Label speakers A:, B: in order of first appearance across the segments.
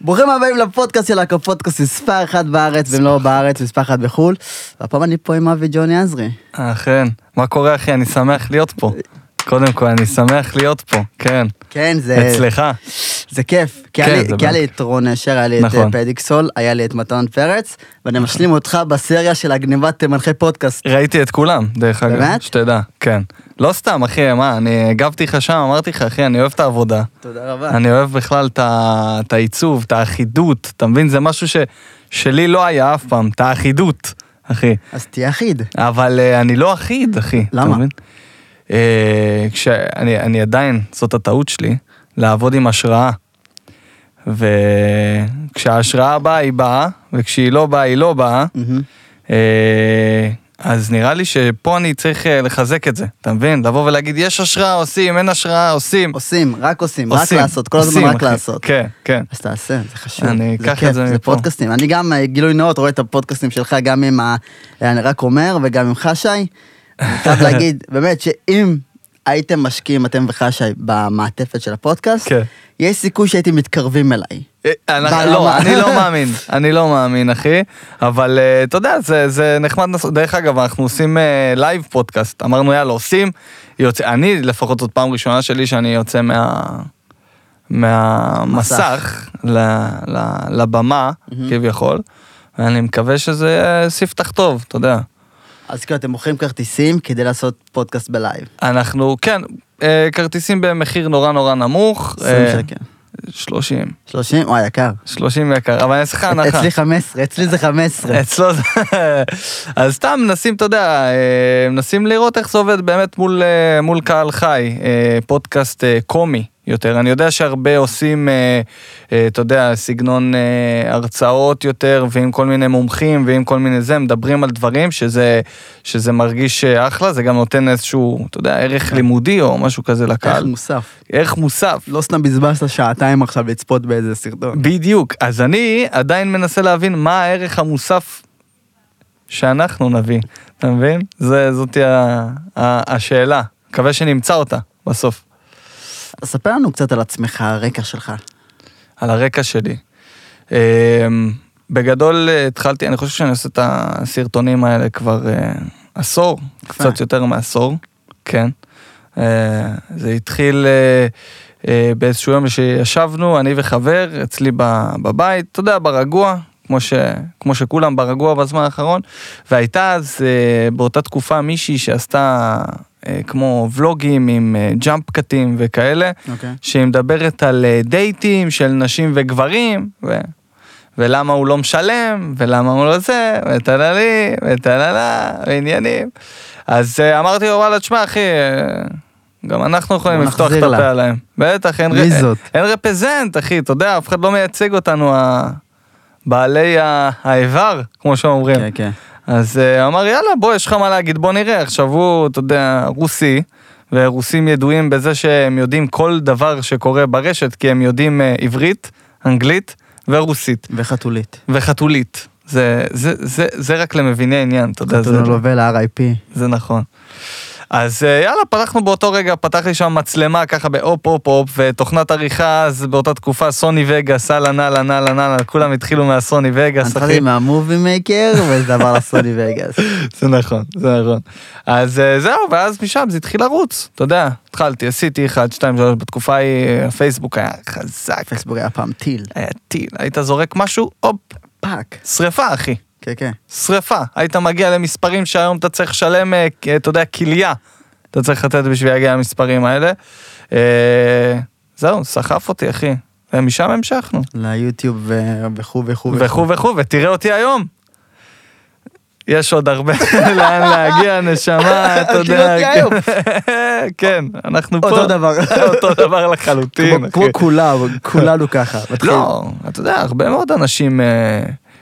A: ברוכים הבאים לפודקאסט של להקו פודקאסט מספר אחת בארץ, ואם לא בארץ, מספר אחת בחו"ל. והפעם אני פה עם אבי ג'וני עזרי.
B: אכן, מה קורה אחי? אני שמח להיות פה. קודם כל, אני שמח להיות פה, כן.
A: כן, זה...
B: אצלך.
A: זה כיף. כי
B: כן,
A: היה לי-
B: זה
A: כי היה לי
B: באמת
A: את רון אשר, היה לי את
B: נכון.
A: אה, פדיקסול, היה לי את מתן פרץ, ואני משלים אותך בסריה של הגניבת אה, מנחי פודקאסט.
B: ראיתי את כולם, דרך אגב.
A: באמת?
B: שתדע, כן. לא סתם, אחי, מה, אני הגבתי לך שם, אמרתי לך, אחי, אני אוהב את העבודה.
A: תודה רבה.
B: אני אוהב בכלל את ה- את העיצוב, את האחידות, אתה מבין? זה משהו ש- שלי לא היה אף פעם, את האחידות, אחי.
A: אז תהיה אחיד.
B: אבל אה, אני לא אחיד, אחי. אתה
A: למה?
B: מבין? אה, כשאני אני עדיין, זאת הטעות שלי, לעבוד עם השראה. וכשההשראה באה, היא באה, וכשהיא לא באה, היא לא באה.
A: מהמם.
B: אה, אז נראה לי שפה אני צריך אה, לחזק את זה, אתה מבין? לבוא ולהגיד, יש השראה, עושים, אין השראה, עושים.
A: עושים, רק עושים, רק
B: עושים.
A: לעשות, כל הזמן
B: עושים,
A: רק
B: אחי.
A: לעשות.
B: כן, כן.
A: אז תעשה, זה חשוב.
B: אני
A: זה
B: אקח את
A: כיף,
B: זה
A: זה
B: מפה.
A: פודקאסטים. אני גם, אה, גילוי נאות, רואה את הפודקאסטים שלך גם עם ה... אה, אני רק אומר, וגם עם חשי. אני חייב להגיד, באמת, שאם הייתם משקיעים, אתם וחשי, במעטפת של הפודקאסט,
B: כן.
A: יש סיכוי שהייתם מתקרבים אליי.
B: אה, אני-
A: ברמה.
B: לא, אני לא מאמין, אני לא מאמין אחי, אבל אה, אתה יודע, זה- זה נחמד, לעשות. דרך אגב, אנחנו עושים אה, לייב פודקאסט, אמרנו יאללה עושים, יוצא, אני לפחות זאת פעם ראשונה שלי שאני יוצא מה... מהמסך ל, ל, לבמה כביכול, ואני מקווה שזה יהיה ספתח טוב, אתה יודע.
A: אז כאילו, אתם מוכרים כרטיסים כדי לעשות פודקאסט בלייב.
B: אנחנו, כן, אה, כרטיסים במחיר נורא נורא נמוך,
A: 20
B: אה,
A: שקל.
B: 30,
A: 30? וואי, יקר.
B: 30 יקר, אבל אני אעשה לך
A: אה,
B: הנחה. אה,
A: אצלי 15, אצלי זה 15.
B: אצלו זה... אז סתם מנסים, אתה יודע, אה, מנסים לראות איך זה עובד באמת מול, אה, מול קהל חי, אה, פודקאסט אה, קומי יותר. אני יודע שהרבה עושים, אה, אה, אתה יודע, סגנון אה, הרצאות יותר, ועם כל מיני מומחים, ועם כל מיני זה, מדברים על דברים שזה, שזה מרגיש אה, אחלה, זה גם נותן איזשהו, אתה יודע, ערך לימודי או משהו כזה
A: ערך
B: לקהל.
A: מוסף.
B: ערך מוסף.
A: לא סתם בזבזת שעתיים עכשיו לצפות באיזה סרטון.
B: בדיוק, אז אני עדיין מנסה להבין מה הערך המוסף שאנחנו נביא, אתה מבין? זה, זאתי ה, ה, השאלה, מקווה שנמצא אותה בסוף,
A: אז ספר לנו קצת על עצמך, הרקע שלך.
B: על הרקע שלי. אמ, בגדול אה, התחלתי, אני חושב שאני עושה את הסרטונים האלה כבר אה, עשור, קצת יותר מעשור, כן. אה, זה התחיל אה, אה, באיזשהו יום שישבנו, אני וחבר, אצלי ב- בבית, אתה יודע, ברגוע, כמו, ש, כמו שכולם ברגוע בזמן האחרון, והייתה אז אה, באותה תקופה מישהי שעשתה אה, כמו ולוגים עם אה, ג'אמפ קטים וכאלה,
A: אוקיי.
B: שהיא מדברת על אה, דייטים של נשים וגברים, ו... ולמה הוא לא משלם, ולמה הוא לא זה, וטללי, וטללה, ועניינים. אז אה, אמרתי לו, וואלה, תשמע, אחי, אה, גם אנחנו יכולים
A: בוא
B: לפתוח את
A: נחזיר לה."
B: הפה עליהם. בטח, אין,
A: מי
B: ר-
A: זאת?
B: אין רפזנט, אחי, אתה יודע, אף אחד לא מייצג אותנו, ה- בעלי ה- האיבר, כמו שאומרים.
A: כן, כן.
B: אז אה, אמר יאללה בוא יש לך מה להגיד בוא נראה עכשיו הוא אתה יודע רוסי ורוסים ידועים בזה שהם יודעים כל דבר שקורה ברשת כי הם יודעים אה, עברית, אנגלית ורוסית
A: וחתולית.
B: וחתולית זה זה זה זה רק למביני עניין אתה יודע זה,
A: חתולובל RIP.
B: זה נכון. אז אה, יאללה פתחנו באותו רגע פתח לי שם מצלמה ככה בהופ הופ הופ ותוכנת עריכה אז באותה תקופה סוני וגאס אהלן אהלן אהלן אהלן כולם התחילו מהסוני וגאס אחי.
A: התחלתי מהמובי מייקר וזה עבר לסוני וגאס.
B: זה נכון, זה נכון. אז אה, זהו, ואז משם זה התחיל לרוץ, אתה יודע, התחלתי, עשיתי 1, 2, 3, בתקופה ההיא אה, הפייסבוק היה חזק,
A: פייסבוק היה פעם טיל.
B: היה טיל, היית זורק משהו, הופ,
A: פאק.
B: שריפה אחי,
A: כן, כן.
B: שריפה. היית מגיע למספרים שהיום אתה צריך לשלם, אה, כ- אתה יודע, כליה, אתה צריך לתת בשביל להגיע למספרים האלה. אה, זהו, סחף אותי אחי, ומשם המשכנו.
A: ליוטיוב ו- וכו' וכו'
B: וכו' וכו', ותראה אותי היום. יש עוד הרבה לאן להגיע, נשמה, אתה
A: תראה אותי
B: יודע.
A: היום.
B: כן, אנחנו פה.
A: אותו דבר.
B: אותו דבר לחלוטין.
A: כמו- כמו
B: אחי.
A: כולם, כולנו ככה. מתחיל.
B: אוקיי. לא, אתה יודע, הרבה מאוד אנשים, אה,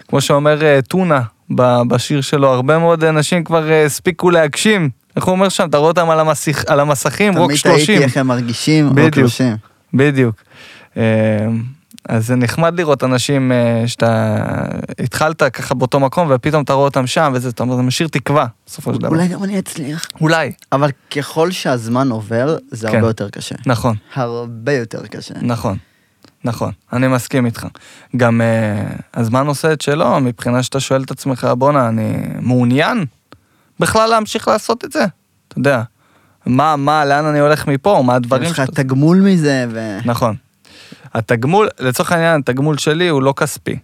B: כמו שאומר אה, טונה ב- בשיר שלו, הרבה מאוד אנשים כבר אה, הספיקו להגשים. איך הוא אומר שם? אתה רואה אותם על המסיך- על המסכים, רוק
A: תמיד ראיתי
B: 30.
A: איך הם מרגישים, רוק
B: בדיוק.
A: 30.
B: בדיוק. אמ, אז זה נחמד לראות אנשים אה, שאתה התחלת ככה באותו מקום ופתאום אתה רואה אותם שם וזה, אתה אומר, זה משאיר תקווה בסופו של דבר.
A: אולי גם אני אצליח.
B: אולי.
A: אבל ככל שהזמן עובר, זה הרבה
B: כן.
A: יותר קשה.
B: נכון,
A: הרבה יותר קשה.
B: נכון. נכון, אני מסכים איתך. גם אה, הזמן עושה את שלו, מבחינה שאתה שואל את עצמך, בואנה, אני מעוניין בכלל להמשיך לעשות את זה? אתה יודע, מה, מה, לאן אני הולך מפה, מה הדברים
A: יש לך תגמול מזה, ו...
B: נכון. התגמול, לצורך העניין, התגמול שלי הוא לא כספי.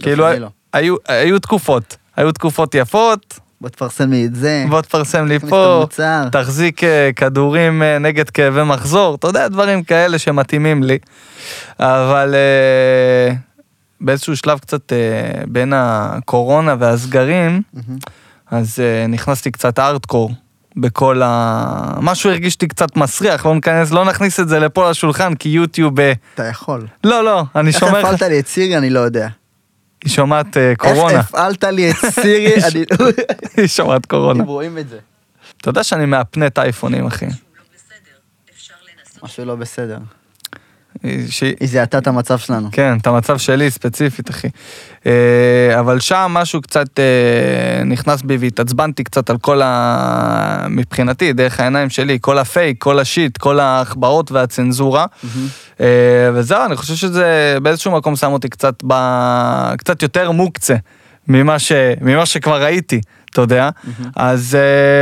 B: כאילו,
A: חלילה.
B: היו, היו תקופות, היו תקופות יפות,
A: בוא תפרסם לי את זה.
B: בוא תפרסם לי
A: כן. תכניס את
B: פה,
A: המוצר.
B: תחזיק אה, כדורים אה, נגד כאבי מחזור, אתה יודע, דברים כאלה שמתאימים לי. אבל אה, באיזשהו שלב קצת אה, בין הקורונה והסגרים,
A: מהמם.
B: אז אה, נכנסתי קצת ארדקור בכל ה... משהו הרגיש לי קצת מסריח, לא ניכנס, לא נכניס את זה לפה לשולחן, כי יוטיוב... אה,
A: אתה יכול.
B: לא, לא, אני
A: איך
B: שומע לך...
A: הפעלת לי את סירי אני לא יודע.
B: היא שומעת אה, קורונה,
A: איך הפעלת לי את סירי אני
B: היא שומעת קורונה.
A: אתם רואים את זה.
B: אתה יודע שאני מאפנט אייפונים, אחי.
A: משהו לא בסדר.
B: היא- שהיא-
A: היא זיהתה את המצב שלנו.
B: כן, את המצב שלי ספציפית, אחי. אה, אבל שם משהו קצת אה, נכנס בי והתעצבנתי קצת על כל ה... מבחינתי, דרך העיניים שלי, כל הפייק, כל השיט, כל ההחבאות והצנזורה. אה, וזהו, אני חושב שזה באיזשהו מקום שם אותי קצת, ב... קצת יותר מוקצה ממה, ש... ממה שכבר ראיתי. אתה יודע, אז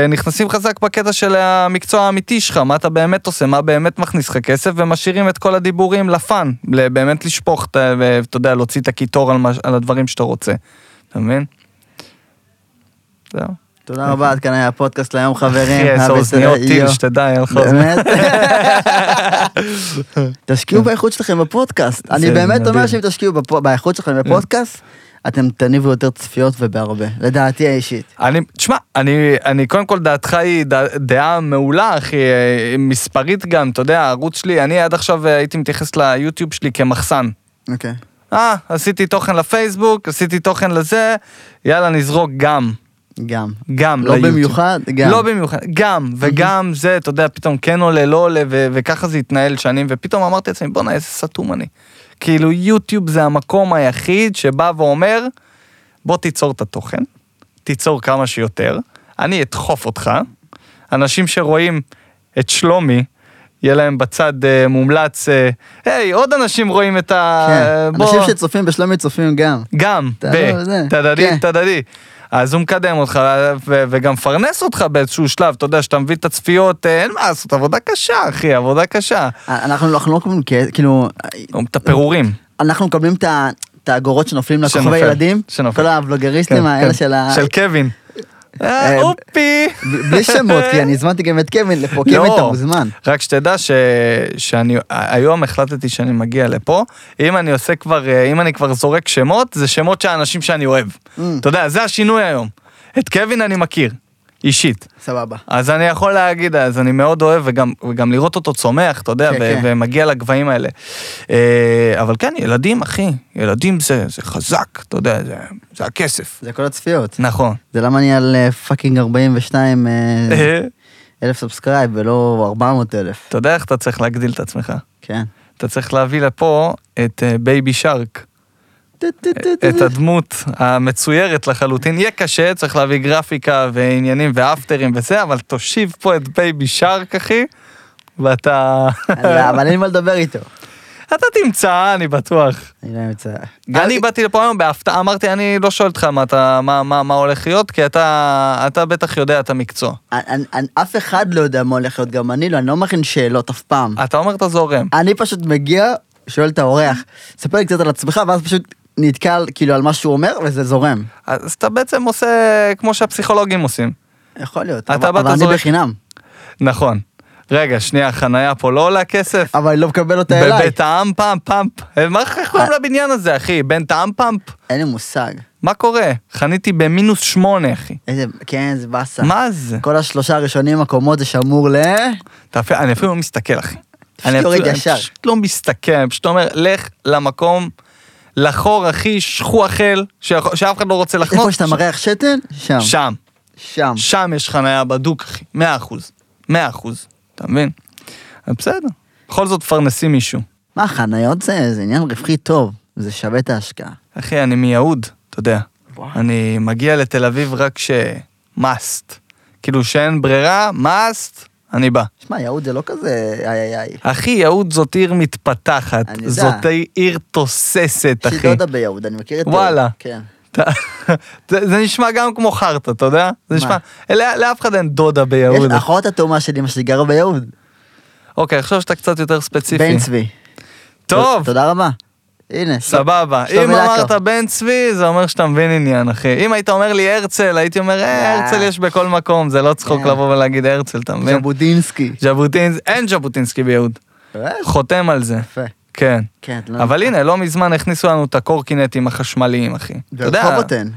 B: uh, נכנסים חזק בקטע של המקצוע האמיתי שלך, מה אתה באמת עושה, מה באמת מכניס לך כסף, ומשאירים את כל הדיבורים לפאן, ל- באמת לשפוך, את ה- ו- אתה יודע, להוציא את הקיטור על, מה... על הדברים שאתה רוצה. אתה מבין? זהו.
A: תודה רבה, עד כאן היה הפודקאסט להיום חברים.
B: אחי, איזה
A: הבסדר,
B: אוזניות טיל,
A: יו.
B: שתדע, יהיה לך אוזניות.
A: אה, באמת? תשקיעו באיכות שלכם בפודקאסט. אני
B: זה
A: באמת אומר
B: מדהים. כן.
A: שאם תשקיעו בפו- באיכות שלכם בפודקאסט, אתם תניבו יותר צפיות ובהרבה. לדעתי האישית.
B: אני, תשמע, אני, אני קודם כל דעתך היא דע, דעה מעולה, אחי, אה, מספרית גם, אתה יודע, הערוץ שלי, אני עד עכשיו אה, הייתי מתייחס ליוטיוב שלי כמחסן.
A: אוקיי.
B: אה, עשיתי תוכן לפייסבוק, עשיתי תוכן לזה, יאללה, נזרוק גם.
A: גם.
B: גם
A: לא
B: ליוטיוב.
A: במיוחד, גם. Mhm.
B: לא במיוחד, גם, וגם זה, אתה יודע, פתאום כן עולה, לא עולה, ו- וככה זה התנהל שנים, ופתאום אמרתי לעצמי, בואנה, איזה סתום אני. כאילו, יוטיוב זה המקום היחיד שבא ואומר, בוא תיצור את התוכן, תיצור כמה שיותר, אני אדחוף אותך, אנשים שרואים את שלומי, יהיה להם בצד אה, מומלץ, אה, היי, עוד אנשים רואים את ה...
A: כן.
B: אה, בוא."
A: אנשים שצופים בשלומי צופים גם.
B: גם,
A: אתה
B: ב,
A: לא, זה, כן.
B: תדדי, תדדי. אז הוא מקדם אותך ו- וגם מפרנס אותך באיזשהו שלב, אתה יודע, שאתה מביא את הצפיות, אה, אין מה לעשות, עבודה קשה, אחי, עבודה קשה.
A: אנחנו אנחנו לא מקבלים, כ- כאילו,
B: את הפירורים.
A: אנחנו מקבלים את ה- את האגורות שנופלים לכוכבי
B: שנופל,
A: ילדים.
B: שנופל.
A: כל הבלוגריסטים
B: כן,
A: האלה
B: כן.
A: של ה...
B: של קווין. אה,
A: אה,
B: אופי.
A: ב- בלי שמות, כי אני הזמנתי גם את קווין לפה, קווין אתה
B: לא.
A: מוזמן.
B: רק שתדע ש... שאני היום החלטתי שאני מגיע לפה, אם אני עושה כבר, אה, אם אני כבר זורק שמות, זה שמות של האנשים שאני אוהב.
A: Mm.
B: אתה יודע, זה השינוי היום. את קווין אני מכיר, אישית.
A: סבבה.
B: אז אני יכול להגיד, אז אני מאוד אוהב, וגם, וגם לראות אותו צומח, אתה יודע,
A: כן,
B: ו-
A: כן.
B: ומגיע לגבהים האלה. אה, אבל כן, ילדים, אחי, ילדים זה, זה חזק, אתה יודע, זה, זה הכסף.
A: זה כל הצפיות.
B: נכון.
A: זה למה אני על אה, פאקינג 42 אה,
B: אה,
A: אלף סאבסקרייב ולא 400 אלף.
B: אתה יודע איך אתה צריך להגדיל את עצמך.
A: כן.
B: אתה צריך להביא לפה את אה, בייבי שרק,
A: טו, טו, טו, טו,
B: את
A: טו.
B: הדמות המצוירת לחלוטין. יהיה קשה, צריך להביא גרפיקה ועניינים ואפטרים וזה, אבל תושיב פה את בייבי שרק, אחי, ואתה...
A: לא, אבל אין מה לדבר איתו.
B: אתה תמצא, אני בטוח.
A: אני לא אמצא.
B: אני באתי לפה היום בהפתעה, אמרתי, אני לא שואל אותך מה, אתה, מה, מה, מה הולך להיות, כי אתה, אתה בטח יודע את המקצוע.
A: אני- אני- אף אחד לא יודע מה הולך להיות, גם אני לא, אני לא מכין שאלות אף פעם.
B: אתה אומר, אתה זורם.
A: אני פשוט מגיע, שואל את האורח, ספר לי קצת על עצמך, ואז פשוט נתקל כאילו על מה שהוא אומר, וזה זורם.
B: אז אתה בעצם עושה כמו שהפסיכולוגים עושים.
A: יכול להיות.
B: אתה
A: אבל-
B: בא,
A: אבל
B: אתה
A: אני
B: זורק.
A: בחינם.
B: נכון. רגע, שנייה, החנייה פה לא עולה כסף?
A: אבל אני לא מקבל אותה אליי. אה.
B: בבית העם פעם פאמפ. מה איך קוראים לבניין הזה, אחי? בית העם פאמפ?
A: אין לי מושג.
B: מה קורה? חניתי במינוס שמונה, אחי.
A: איזה, כן, זה באסה.
B: מה זה?
A: כל השלושה הראשונים הקומות זה שמור ל...
B: אתה אפילו, אני אפילו לא מסתכל, אחי.
A: פשוט יורד ישר.
B: אני פשוט לא מסתכל, אני פשוט אומר, לך למקום, לחור, אחי, שכוח-אל, שיכול- שאף אחד לא רוצה לחנות.
A: איפה שאתה מריח שתן? שם.
B: שם.
A: שם.
B: שם יש חניה בדוק, אחי. מאה אחוז. מאה אחוז. אתה מבין? אז בסדר. בכל זאת מפרנסים מישהו.
A: מה, חניות זה זה עניין רווחי טוב, זה שווה את ההשקעה.
B: אחי, אני מיהוד, אתה יודע.
A: וואו.
B: אני מגיע לתל אביב רק ש... must. כאילו שאין ברירה, must, אני בא.
A: שמע, יהוד זה לא כזה איי איי איי.
B: אחי, יהוד זאת עיר מתפתחת,
A: אני יודע.
B: זאת עיר תוססת,
A: יש לי
B: אחי.
A: דודה ביהוד, אני מכיר את...
B: וואלה.
A: כן.
B: אתה- זה זה נשמע גם כמו חרטא, אתה יודע? זה
A: מה?
B: נשמע, לא- לאף אחד אין דודה
A: יש
B: ביהוד.
A: אחות התאומה של אמא שלי גרה ביהוד.
B: אוקיי, עכשיו שאתה קצת יותר ספציפי.
A: בן צבי.
B: טוב,
A: ת- תודה רבה. הנה.
B: סבבה.
A: שלומי
B: אם
A: לקו.
B: אמרת בן צבי, זה אומר שאתה מבין עניין, אחי. אם היית אומר לי הרצל, הייתי אומר, "אה,
A: אה.
B: הרצל יש בכל מקום, זה לא צחוק
A: אה.
B: לבוא ולהגיד הרצל, אתה מבין?
A: ז'בודינסקי.
B: ז'בוטינסקי, אין ז'בוטינסקי ביהוד. חותם על זה.
A: אה, יפה.
B: כן.
A: כן, לא-
B: אבל הנה, לא מזמן הכניסו לנו את הקורקינטים החשמליים, אחי. אתה יודע-
A: ברחובותיהן.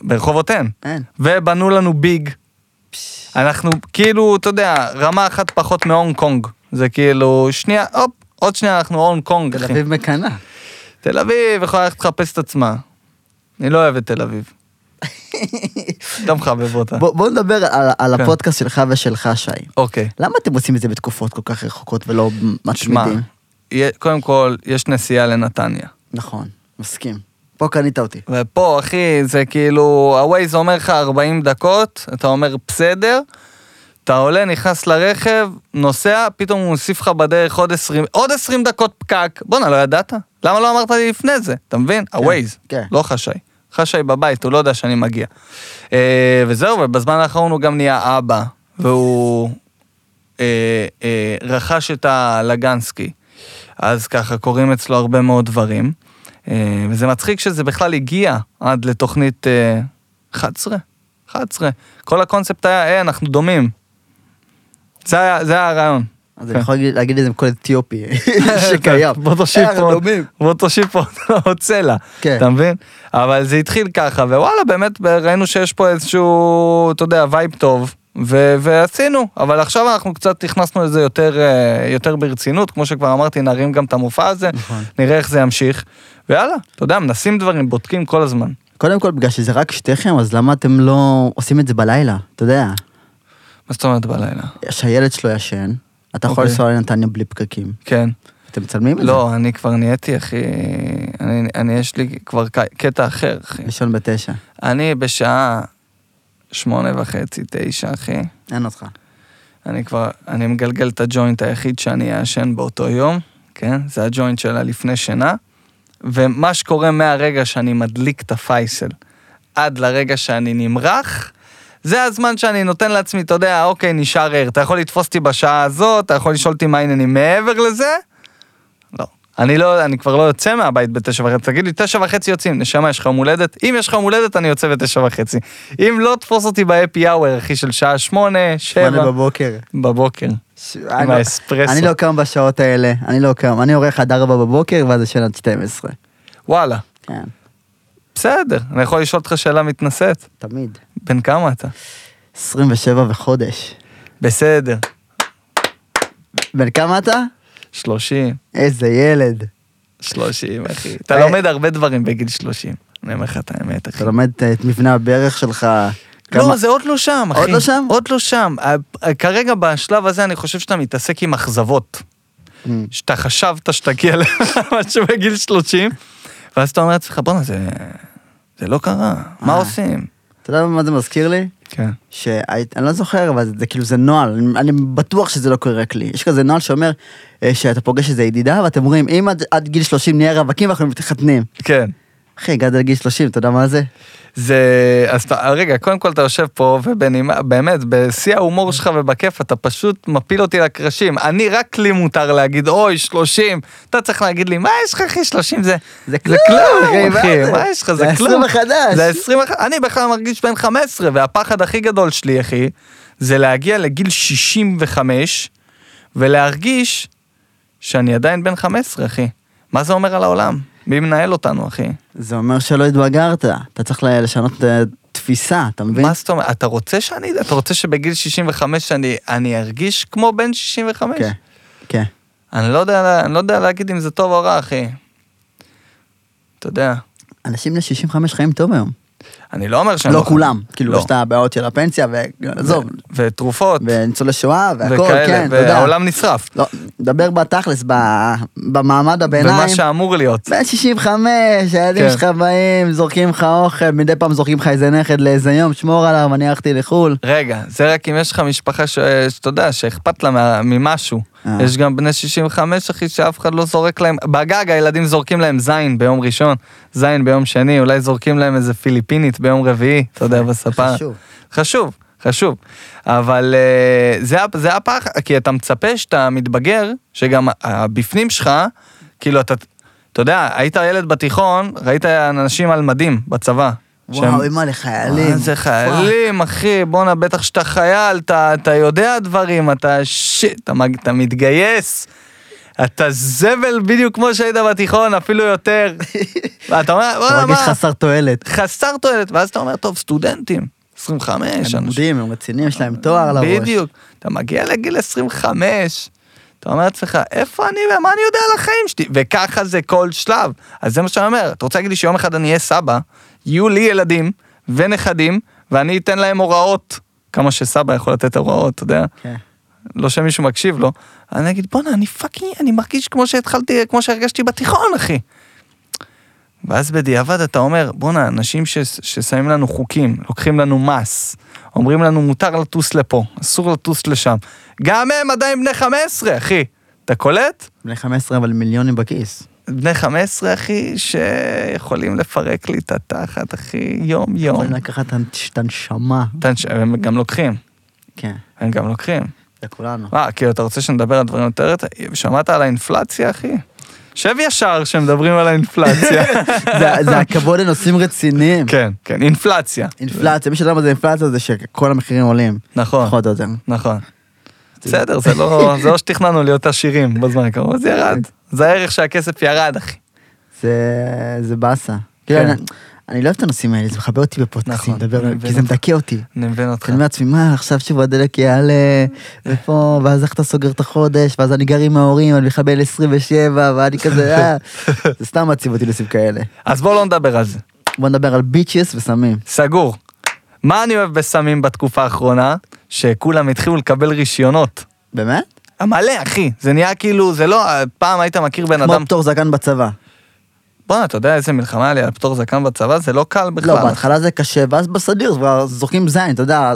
B: ברחובותיהן.
A: אין.
B: ובנו לנו ביג. אנחנו כאילו, אתה יודע, רמה אחת פחות מהונג קונג. זה כאילו, שנייה, הופ, עוד שנייה אנחנו הונג קונג,
A: תל
B: אחי.
A: אביב מקנאה.
B: תל אביב יכולה ללכת לחפש את עצמה. אני לא אוהב את תל אביב. אתה מחבב אותה.
A: בוא בוא נדבר על- על
B: כן.
A: הפודקאסט שלך ושלך, שי.
B: אוקיי.
A: למה אתם עושים את זה בתקופות כל כך רחוקות ולא
B: שמע,
A: מתמידים?
B: יה- קודם כל, יש נסיעה לנתניה.
A: נכון, מסכים. פה קנית אותי.
B: ופה, אחי, זה כאילו, הווייז אומר לך 40 דקות, אתה אומר בסדר, אתה עולה, נכנס לרכב, נוסע, פתאום הוא מוסיף לך בדרך עוד 20, עוד 20 דקות פקק. בואנה, לא ידעת? למה לא אמרת לי לפני זה? אתה מבין? הווייז,
A: כן.
B: לא חשאי. חשאי בבית, הוא לא יודע שאני מגיע. אה, וזהו, ובזמן האחרון הוא גם נהיה אבא, והוא אה, אה, רכש את הלגנסקי. אז ככה קורים אצלו הרבה מאוד דברים. אה, וזה מצחיק שזה בכלל הגיע עד לתוכנית אה, 11, 11. כל הקונספט היה, אה, אנחנו דומים. זה היה, זה היה הרעיון.
A: אז אני יכול להגיד- להגיד את זה עם כל אתיופי שקיים.
B: כן. בוא תושיב
A: אה,
B: פה,
A: דומים.
B: בוא תושיב פה עוד סלע,
A: כן.
B: אתה מבין? אבל זה התחיל ככה, ווואלה, באמת ראינו שיש פה איזשהו, אתה יודע, וייב טוב, ו- ועשינו, אבל עכשיו אנחנו קצת נכנסנו לזה יותר, אה, יותר ברצינות, כמו שכבר אמרתי, נרים גם את המופע הזה,
A: נכון.
B: נראה איך זה ימשיך, ויאללה, אתה יודע, מנסים דברים, בודקים כל הזמן.
A: קודם כל, בגלל שזה רק שתיכם, אז למה אתם לא עושים את זה בלילה? אתה יודע,
B: מה זאת אומרת בלילה?
A: שהילד שלו ישן, אתה יכול
B: אוקיי.
A: לנסוע לנתניה בלי פקקים.
B: כן.
A: אתם מצלמים את זה?
B: לא, אני כבר נהייתי, אחי, אני, אני, יש לי כבר ק- קטע אחר, אחי.
A: לישון בתשע,
B: אני בשעה שמונה וחצי, תשע, אחי.
A: אין אותך.
B: אני כבר, אני מגלגל את הג'וינט היחיד שאני אעשן באותו יום, כן? זה הג'וינט שלה לפני שינה. ומה שקורה מהרגע שאני מדליק את הפייסל עד לרגע שאני נמרח, זה הזמן שאני נותן לעצמי, אתה יודע, אוקיי, נשאר ער. אתה יכול לתפוס אותי בשעה הזאת, אתה יכול לשאול אותי מה העניינים מעבר לזה? לא. אני לא, אני כבר לא יוצא מהבית בתשע וחצי, תגיד לי, תשע וחצי יוצאים, נשמה, יש לך יום הולדת? אם יש לך יום הולדת, אני יוצא בתשע וחצי. אם לא, תפוס אותי ב-happy hour, אחי, של שעה שמונה, שבע.
A: שמונה בבוקר.
B: בבוקר.
A: ש- אני לא-
B: האספרסו.
A: אני לא קם בשעות האלה, אני לא קם. אני עורך עד ארבע בבוקר ואז ישן עד 12.
B: וואלה,
A: כן,
B: בסדר, אני יכול לשאול אותך שאלה מתנשאת.
A: תמיד.
B: בן כמה אתה?
A: 27 וחודש.
B: בסדר.
A: בן כמה אתה?
B: 30.
A: איזה ילד.
B: 30, אחי. אתה
A: אה.
B: לומד הרבה דברים בגיל 30. אני אומר לך את האמת, אחי.
A: אתה לומד אה, את מבנה הברך שלך. כמה-
B: לא, זה עוד לא שם, אחי.
A: עוד לא שם?
B: עוד לא שם. אה, אה, כרגע, בשלב הזה, אני חושב שאתה מתעסק עם אכזבות.
A: אמ,
B: שאתה חשבת שתגיע למשהו בגיל 30, ואז אתה אומר לעצמך, בואנה, זה... זה לא קרה. מה
A: אה.
B: עושים?
A: אתה יודע מה זה מזכיר לי?
B: כן.
A: שאני לא זוכר, אבל זה כאילו זה נוהל, אני- אני בטוח שזה לא קורה רק לי. יש כזה נוהל שאומר אה, שאתה פוגש איזה ידידה ואתם אומרים, אם עד, עד גיל 30 נהיה רווקים אנחנו מתחתנים.
B: כן.
A: אחי, הגעת לגיל 30, אתה יודע מה זה?
B: זה, אז אתה, רגע, קודם כל אתה יושב פה, ובנימה, באמת, בשיא ההומור שלך ובכיף, אתה פשוט מפיל אותי לקרשים. אני, רק לי מותר להגיד, אוי, 30. אתה צריך להגיד לי, מה יש לך, אחי, 30 זה...
A: זה
B: כלום,
A: מה
B: אחי,
A: זה?
B: מה יש לך,
A: זה
B: זה כלום.
A: העשרים החדש.
B: זה העשרים החדש. אני בכלל מרגיש בן 15, והפחד הכי גדול שלי, אחי, זה להגיע לגיל 65, ולהרגיש שאני עדיין בן 15, אחי. מה זה אומר על העולם? מי מנהל אותנו, אחי?
A: זה אומר שלא התבגרת, אתה צריך ל- לשנות אה, תפיסה, אתה מבין?
B: מה זאת אומרת? אתה רוצה שאני, אתה רוצה שבגיל 65 אני, אני ארגיש כמו בן 65?
A: כן, כן.
B: אני לא, יודע, אני לא יודע להגיד אם זה טוב או רע, אחי. אתה יודע.
A: אנשים בני 65 חיים טוב היום.
B: אני לא אומר שהם
A: לא כולם,
B: חיים.
A: כאילו
B: לא.
A: יש את הבעיות של הפנסיה, ועזוב,
B: ותרופות,
A: וניצולי שואה והכל,
B: וכאלה,
A: כן, אתה יודע.
B: והעולם נשרף.
A: לא, נדבר בתכלס, ב- במעמד
B: ומה
A: הביניים.
B: שאמור להיות.
A: בן 65, הילדים
B: כן.
A: שלך באים, זורקים לך אוכל, מדי פעם זורקים לך איזה נכד לאיזה יום, שמור עליו, אני הלכתי לחו"ל.
B: רגע, זה רק אם יש לך משפחה ש- שאתה יודע, שאכפת לה מה- ממשהו.
A: אה.
B: יש גם בני 65, אחי, שאף אחד לא זורק להם. בגג הילדים זורקים להם זין ביום ראשון, זין ביום שני, אולי זורקים להם איזה פיליפינית ביום רביעי, אתה יודע, בספה.
A: חשוב.
B: חשוב, חשוב. אבל אה, זה, ה- זה הפח, כי אתה מצפה שאתה מתבגר, שגם הבפנים שלך, כאילו אתה, אתה יודע, היית ילד בתיכון, ראית אנשים על מדים בצבא. שהם-
A: וואו, אימא לחיילים.
B: מה זה
A: פאק.
B: חיילים, אחי, בואנה, בטח שאתה חייל, אתה, אתה יודע דברים, אתה שיט, אתה, מג- אתה מתגייס. אתה זבל בדיוק כמו שהיית בתיכון, אפילו יותר. ואתה אומר,
A: אתה
B: וואלה,
A: מרגיש
B: מה,
A: חסר תועלת.
B: חסר תועלת, ואז אתה אומר, טוב, סטודנטים, 25,
A: הם
B: אנשים.
A: עומדים, הם רציניים, יש להם תואר על הראש.
B: אה, בדיוק. אתה מגיע לגיל 25, אתה אומר לעצמך, איפה אני ומה אני יודע על החיים שלי? וככה זה כל שלב. אז זה מה שאני אומר, אתה רוצה להגיד לי שיום אחד אני אהיה סבא, יהיו לי ילדים ונכדים, ואני אתן להם הוראות, כמה שסבא יכול לתת הוראות, אתה יודע?
A: כן.
B: לא שמישהו מקשיב לו, אני אגיד, בואנה, אני פאקינג, אני מרגיש כמו שהתחלתי, כמו שהרגשתי בתיכון, אחי. ואז בדיעבד אתה אומר, בואנה, אנשים ש, ששמים לנו חוקים, לוקחים לנו מס, אומרים לנו מותר לטוס לפה, אסור לטוס לשם. גם הם עדיין בני 15, אחי. אתה קולט?
A: בני 15 אבל מיליונים בכיס.
B: בני 15, אחי, שיכולים לפרק לי את התחת, אחי, יום-יום.
A: יכולים לקחת את הנ- את הנשמה.
B: הם גם לוקחים,
A: כן,
B: הם גם לוקחים.
A: זה כולנו.
B: מה, כאילו, אתה רוצה שנדבר על דברים יותר... שמעת על האינפלציה, אחי? שב ישר כשמדברים על האינפלציה.
A: זה- זה הכבוד לנושאים רציניים.
B: כן, כן, אינפלציה.
A: אינפלציה, מי שלא יודע מה זה אינפלציה זה שכל המחירים עולים.
B: נכון,
A: פחות או יותר.
B: נכון. בסדר, זה לא זה לא שתכננו להיות עשירים בזמן הקרוב, אבל זה ירד. זה הערך שהכסף ירד, אחי.
A: זה- זה באסה. כאילו,
B: כן.
A: אני- אני לא אוהב את הנושעים האלה, זה מכבה אותי בפודקאסטים,
B: נכון,
A: לדבר,
B: אני
A: כי זה
B: מבין נכון.
A: מדכא אותי.
B: אני מבין אותך.
A: אני אומר לעצמי, מה, עכשיו שבוע הדלק יעלה, ופה, ואז איך אתה סוגר את החודש, ואז אני גר עם ההורים, אני מחבל 27, ואני כזה, אה, זה סתם מעציב אותי נושאים כאלה.
B: אז בואו לא נדבר על זה.
A: בוא נדבר על ביצ'ס וסמים.
B: סגור. מה אני אוהב בסמים בתקופה האחרונה? שכולם התחילו לקבל רישיונות.
A: באמת?
B: מלא, אחי. זה נהיה כאילו, זה לא... פעם היית מכיר בן
A: כמו
B: אדם...
A: פטור זקן בצבא.
B: בואנה, אתה יודע איזה מלחמה היה לי על פטור זקן בצבא? זה לא קל בכלל.
A: לא, בהתחלה זה קשה, ואז בסדיר כבר זורקים זין, אתה יודע.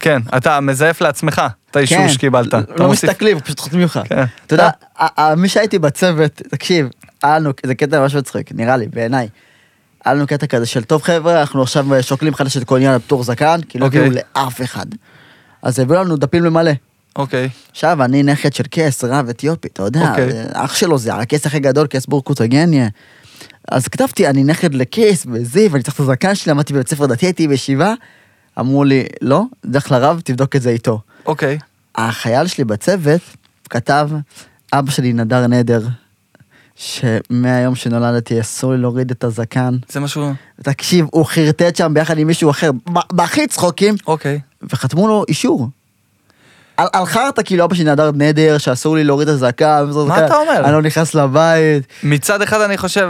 B: כן, אתה מזייף לעצמך את האישור
A: כן,
B: שקיבלת.
A: לא-
B: אתה
A: לא
B: מוסיף-
A: מסתכלים, פשוט חותמים לך.
B: כן.
A: אתה יודע, ה- ה- מי שהייתי בצוות, תקשיב, היה לנו, זה קטע ממש מצחיק, נראה לי, בעיניי. היה לנו קטע כזה של, טוב חבר'ה, אנחנו עכשיו שוקלים חדש את כל עניין הפטור זקן, כי לא
B: אוקיי.
A: הגיעו לאף אחד. אז הביאו לנו דפים למלא.
B: אוקיי,
A: עכשיו, אני נכד של קס, רב אתיופי, אתה יודע,
B: אוקיי.
A: זה- אח שלו זה הקס הכי גדול, קס בורקוטוגניה. אז כתבתי, אני נכד לקס בזיו, אני צריך את הזקן שלי, למדתי בבית ספר דתי, הייתי בישיבה. אמרו לי, לא, לך לרב, תבדוק את זה איתו.
B: אוקיי.
A: החייל שלי בצוות כתב, אבא שלי נדר נדר, שמהיום שנולדתי אסור לי להוריד את הזקן.
B: זה משהו...
A: תקשיב, הוא חרטט שם ביחד עם מישהו אחר, ב- בהכי צחוקים,
B: אוקיי.
A: וחתמו לו אישור. על, על חרטא כאילו אבא שלי נדר נדר, שאסור לי להוריד את הזקן, וזאת
B: מה
A: הזקן,
B: אתה אומר?
A: אני לא נכנס לבית.
B: מצד אחד אני חושב,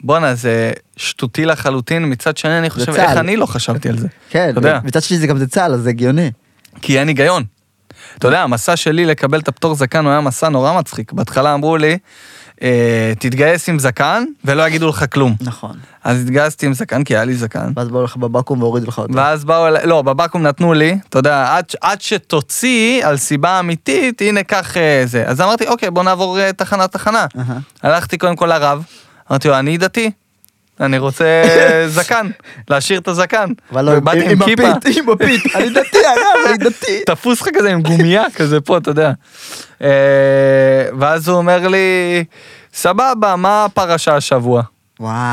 B: בואנה, זה שטותי לחלוטין, מצד שני אני חושב,
A: צה"ל.
B: איך אני לא חשבתי על זה.
A: כן,
B: אתה יודע,
A: מצד שלי זה גם זה צה"ל, אז זה הגיוני.
B: כי אין היגיון. אתה יודע, המסע שלי לקבל את הפטור זקן הוא היה מסע נורא מצחיק. בהתחלה אמרו לי, אה, תתגייס עם זקן ולא יגידו לך כלום.
A: נכון.
B: אז התגייסתי עם זקן כי היה לי זקן.
A: ואז באו לך בבקו"ם והורידו לך אותו.
B: ואז באו אליי, לא, בבקו"ם נתנו לי, אתה יודע, עד, ש- עד שתוציא על סיבה אמיתית, הנה כך אה, זה. אז אמרתי, אוקיי, בוא נעבור אה, תחנה תחנה.
A: אהה.
B: הלכתי קודם כל לרב, אמרתי לו, אני דתי, אני רוצה זקן, להשאיר את הזקן.
A: אבל לא, עם
B: ובאתי
A: עם הפית, עם הפית, אני דתי, הרב, אני דתי.
B: תפוס לך כזה עם גומייה כזה פה, אתה יודע. אה, ואז הוא אומר לי, סבבה, מה הפרשה השבוע?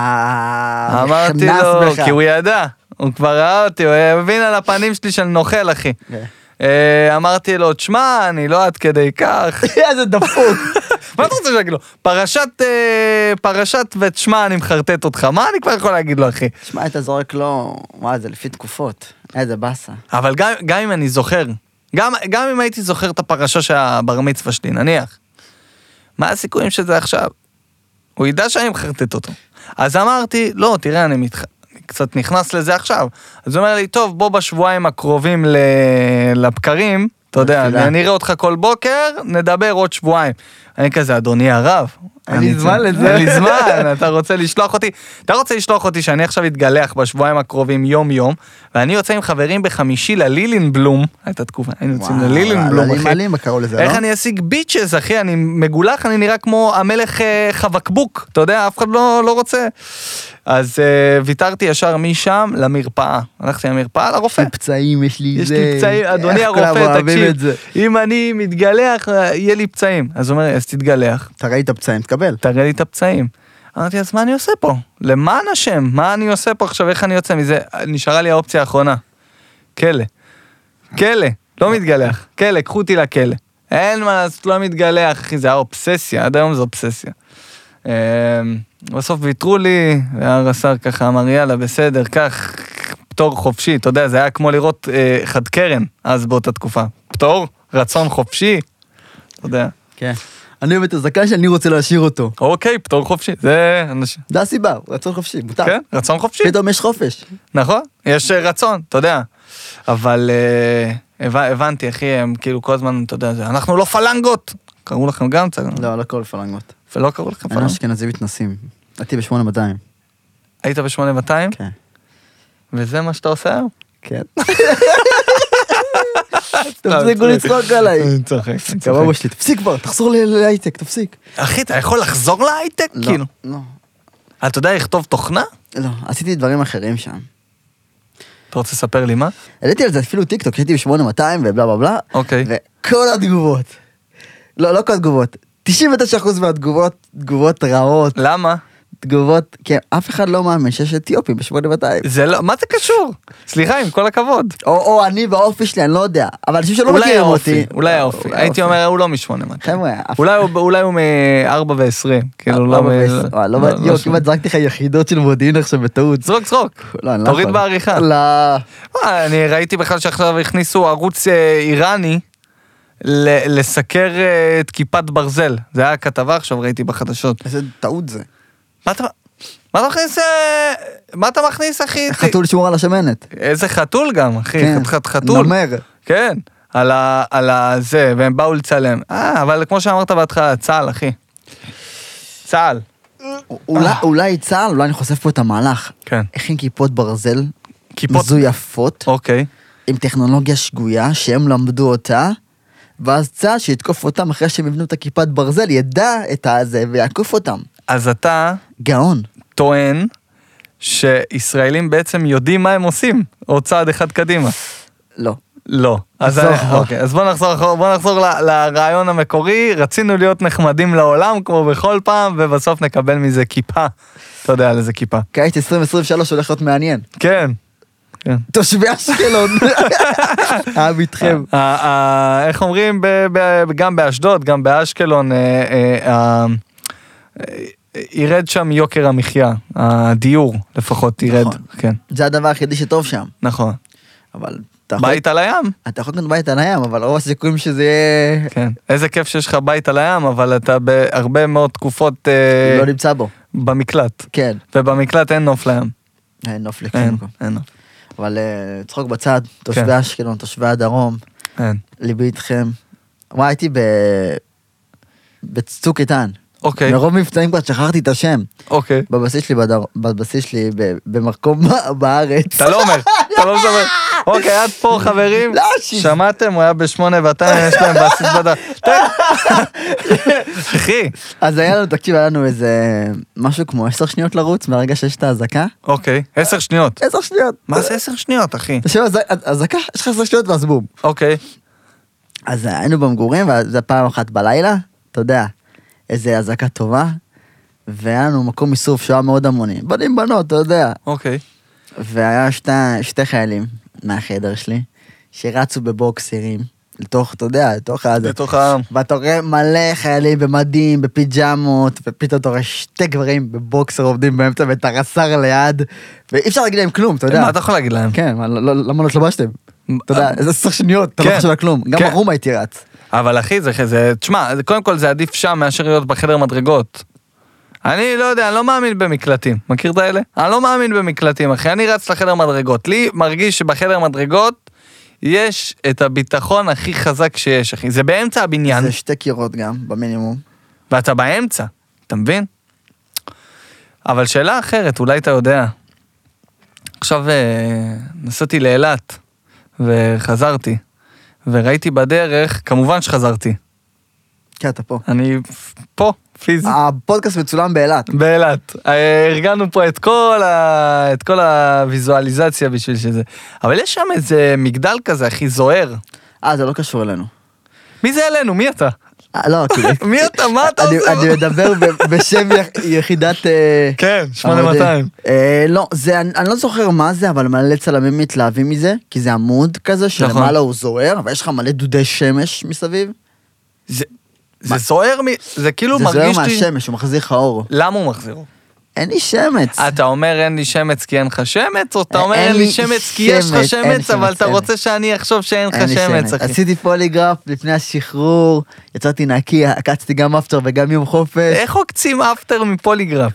A: וואו,
B: אמרתי
A: נכנס
B: לו,
A: בך.
B: כי הוא ידע, הוא כבר ראה אותי, הוא הבין על הפנים שלי שאני נוכל, אחי.
A: כן.
B: אה, אמרתי לו, תשמע, אני לא עד כדי כך.
A: איזה דפוק.
B: מה אתה רוצה להגיד לו? פרשת, אה, פרשת ותשמע, אני מחרטט אותך, מה אני כבר יכול להגיד לו, אחי?
A: שמע, היית זורק לו, וואי, זה לפי תקופות. איזה באסה.
B: אבל גם, גם אם אני זוכר, גם, גם אם הייתי זוכר את הפרשה של הבר מצווה שלי, נניח, מה הסיכויים שזה עכשיו? הוא ידע שאני מחרטט אותו. אז אמרתי, לא, תראה, אני מתח... קצת נכנס לזה עכשיו. אז הוא אומר לי, טוב, בוא בשבועיים הקרובים ל... לבקרים, אתה יודע,
A: לתפילה.
B: אני אראה אותך כל בוקר, נדבר עוד שבועיים. אני כזה, אדוני הרב, אין לי
A: אני
B: זמן
A: צם.
B: לזה, אין לי זמן, אתה רוצה לשלוח אותי, אתה רוצה לשלוח אותי שאני עכשיו אתגלח בשבועיים הקרובים יום-יום, ואני יוצא עם חברים בחמישי ללילינבלום, הייתה תקופה, היינו יוצאים
A: וואו,
B: ללילינבלום,
A: מעלים
B: אחי.
A: מעלים קראו לזה, לא?
B: איך אני אשיג ביצ'ס, אחי? אני מגולח, אני נראה כמו המלך אה, חבקבוק, אתה יודע, אף אחד לא, לא רוצה. אז אה, ויתרתי ישר משם למרפאה. הלכתי למרפאה לרופא.
A: יש לי פצעים, יש לי
B: יש
A: זה.
B: לי פצעים, אדוני
A: איך כולם
B: הרופא,
A: אוהבים
B: תקשיב,
A: את זה?
B: אם אני מתגלח, אה, יהיה לי פצעים. אז הוא אומר, אז תתגלח,
A: אתה ראית פצעים, תקבל.
B: תראה לי את הפצעים. אמרתי, אז מה אני עושה פה? למען השם, מה אני עושה פה עכשיו, איך אני יוצא מזה? נשארה לי האופציה האחרונה. כלא. כלא, לא מתגלח. כלא, קחו אותי לכלא. אין מה לעשות, לא מתגלח, אחי, זה היה אובססיה, עד היום זו אובססיה. אמ, בסוף ויתרו לי, והרס"ר ככה אמר, יאללה, בסדר, קח פטור חופשי. אתה יודע, זה היה כמו לראות אה, חד קרן אז באותה תקופה. פטור, רצון חופשי, אתה יודע.
A: כן. אני אוהב את הזקן שאני רוצה להשאיר אותו.
B: אוקיי, פטור חופשי, זה אנשים.
A: זה הסיבה, הוא רצון חופשי, מותר.
B: כן, רצון חופשי,
A: פתאום יש חופש.
B: נכון? יש אה, רצון, אתה יודע. אבל אה, הב- הבנתי, אחי, הם כאילו כל הזמן, אתה יודע, זה, אנחנו לא פלנגות. קראו לכם גם קצת,
A: לא, לא כל פלנגות.
B: ולא קראו לכם
A: אני
B: פלנגות.
A: אשכנזי מתנסים. הייתי ב-8200.
B: היית ב-8200,
A: כן.
B: וזה מה שאתה עושה היום?
A: כן. תפסיקו לצחוק עליי.
B: לא,
A: לא
B: אני צוחק, אני צוחק.
A: סבבה שלי, תפסיק כבר, תחזור ל- להייטק, תפסיק.
B: אחי, אתה יכול לחזור להייטק?
A: לא,
B: כאילו.
A: לא,
B: אתה יודע לכתוב תוכנה?
A: לא, עשיתי דברים אחרים שם.
B: אתה רוצה לספר לי מה?
A: העליתי על זה אפילו טיקטוק, הייתי ב-8200 ובלה בלה בלה.
B: אוקיי.
A: וכל התגובות. לא, לא כל התגובות. 99% מהתגובות, תגובות רעות,
B: למה?
A: תגובות, כן, אף אחד לא מאמין שיש אתיופים ב-8200.
B: זה לא, מה זה קשור? סליחה, עם כל הכבוד.
A: או, או אני והאופי שלי, אני לא יודע. אבל אנשים שלא
B: אולי
A: מכירים
B: האופי,
A: אותי. אה,
B: אולי האופי. הייתי אומר, הוא לא משמונה מתי.
A: חבר'ה, אף-
B: אולי הוא- אולי הוא מ-4 ו-20. כאילו, לא...
A: ארבע
B: מ-
A: ועשר- וואי, לא,
B: לא
A: יואו,
B: משנה.
A: כמעט זרקתי לך יחידות של מודיעין עכשיו בטעות.
B: זרוק, זרוק.
A: לא, אני לא
B: תוריד
A: יכול.
B: בעריכה.
A: לא.
B: וואי, אני ראיתי בכלל שעכשיו הכניסו ערוץ אה, איראני ל- לסקר אה, את כיפת ברזל. זה היה כתבה עכשיו, ראיתי בחדשות.
A: איזה טעות זה.
B: מה אתה... מה אתה מכניס, אה, מה אתה מכניס, אחי?
A: חתול שמור על השמנת.
B: איזה חתול גם, אחי,
A: כן.
B: חתיכת אה, חתול.
A: נמר.
B: כן, על ה... על ה... זה, והם באו לצלם. אה, אבל כמו שאמרת בהתחלה, צה"ל, אחי. צה"ל.
A: אולי- אולי צה"ל, אולי אני חושף פה את המהלך.
B: אה. כן.
A: הכין כיפות ברזל
B: כיפות.
A: מזויפות,
B: אוקיי.
A: עם טכנולוגיה שגויה, שהם למדו אותה, ואז צה"ל שיתקוף אותם אחרי שהם יבנו את הכיפת ברזל, ידע את הזה ויעקוף אותם.
B: אז אתה
A: גאון.
B: טוען שישראלים בעצם יודעים מה הם עושים, או צעד אחד קדימה.
A: לא.
B: לא. אז,
A: נחזור
B: אני,
A: אחורה.
B: אוקיי, אז בוא נחזור, אחורה, בוא נחזור ל, לרעיון המקורי, רצינו להיות נחמדים לעולם כמו בכל פעם, ובסוף נקבל מזה כיפה. אתה יודע על איזה כיפה.
A: קיץ 2023 הולך להיות מעניין.
B: כן. כן.
A: תושבי אשקלון. העם איתכם.
B: ה- ה- איך אומרים, ב- ב- גם באשדוד, גם באשקלון, אה, אה, ה- אה, ירד שם יוקר המחיה, הדיור לפחות ירד,
A: נכון.
B: כן,
A: זה הדבר היחידי שטוב שם.
B: נכון.
A: אבל אתה יכול...
B: בית על הים,
A: אתה יכול לקנות בית על הים, אבל רוב הסיכויים שזה יהיה...
B: כן. איזה כיף שיש לך בית על הים, אבל אתה בהרבה מאוד תקופות אה,
A: לא נמצא בו.
B: במקלט,
A: כן. אה,
B: ובמקלט אין נוף לים.
A: אין נוף
B: אין,
A: לכלום.
B: אין נוף.
A: אבל אה, צחוק בצד,
B: כן.
A: תושבי אשקלון, תושבי הדרום,
B: אין.
A: ליבי איתכם. וואי, הייתי ב... בצוק איתן.
B: אוקיי,
A: מרוב מבצעים כבר שכחתי את השם.
B: אוקיי.
A: בבסיס שלי, בדר... בבסיס שלי ב... במקום בארץ.
B: אתה לא אומר, אתה לא מדבר. אוקיי, עד פה חברים,
A: לא, שיט.
B: שמעתם? הוא היה בשמונה ואתיים, יש להם בסיס בדף. אחי,
A: אז היה לנו, תקשיב, היה לנו איזה משהו כמו עשר שניות לרוץ מהרגע שיש את האזעקה.
B: אוקיי, עשר שניות.
A: עשר שניות.
B: מה זה עשר שניות, אחי?
A: אתה שומע, אז- אזעקה, יש לך עשר שניות ואז בום.
B: אוקיי,
A: אז היינו במגורים, וזה פעם אחת בלילה, אתה יודע, איזה אזעקה טובה, והיה לנו מקום איסוף שהיה מאוד המוני. בנים בנות, אתה יודע.
B: אוקיי.
A: והיה שתי, שתי חיילים מהחדר שלי, שרצו בבוקסרים, לתוך, אתה יודע, לתוך הזה.
B: לתוך העם.
A: ואתה רואה מלא חיילים במדים, בפיג'מות, ופתאום אתה רואה שתי גברים בבוקסר עובדים באמצע ואת הרס"ר ליד, ואי אפשר להגיד להם כלום, אתה יודע.
B: מה אתה יכול להגיד להם?
A: כן, מה, לא- לא- למה לא התלבשתם? אתה יודע, איזה עשר שניות, אתה לא
B: כן.
A: חושב על כלום. גם
B: כן.
A: ערום הייתי רץ.
B: אבל אחי, זה, זה, תשמע, זה- קודם כל זה עדיף שם מאשר להיות בחדר מדרגות. אני לא יודע, אני לא מאמין במקלטים. מכיר את האלה? אני לא מאמין במקלטים, אחי. אני רץ לחדר מדרגות. לי מרגיש שבחדר מדרגות יש את הביטחון הכי חזק שיש, אחי. זה באמצע הבניין,
A: זה שתי קירות גם, במינימום.
B: ואתה באמצע, אתה מבין? אבל שאלה אחרת, אולי אתה יודע. עכשיו אה, נסעתי לאילת, וחזרתי, וראיתי בדרך, כמובן שחזרתי.
A: כן, אתה פה.
B: אני פה, פיזית.
A: אה. הפודקאסט מצולם באילת.
B: באילת. אה, ארגנו פה את כל, ה... את כל הוויזואליזציה בשביל שזה. אבל יש שם איזה מגדל כזה, אחי, זוהר.
A: אה, זה לא קשור אלינו.
B: מי זה אלינו? מי אתה?
A: אה, לא, כאילו...
B: מי אתה? מה אתה
A: אני-
B: עושה?
A: אני מדבר ב- בשם יח- יחידת... אה,
B: כן, 8200.
A: אה, לא, זה, אני, אני לא זוכר מה זה, אבל מלא צלמים מתלהבים מזה, כי זה עמוד כזה שלמעלה
B: נכון.
A: הוא זוהר, ויש לך מלא דודי שמש מסביב.
B: זה זה זוהר מ... זה כאילו
A: זה זוהר
B: מרגיש לי...
A: מהשמש, הוא מחזיר לך אור.
B: למה הוא מחזיר?
A: אין לי שמץ.
B: אתה אומר אין לי שמץ כי אין לך שמץ, או אתה
A: אין
B: אומר אין
A: לי
B: לי שמץ כי יש לך
A: שמץ, אין לי
B: שמץ, אבל
A: שמץ,
B: אתה
A: אין לי.
B: רוצה שאני אחשוב שאין
A: אין
B: לך
A: לי
B: שמץ, אחי.
A: עשיתי פוליגרף לפני השחרור, יצאתי נקי, עקצתי גם אפטר וגם יום חופש.
B: איך עוקצים אפטר מפוליגרף?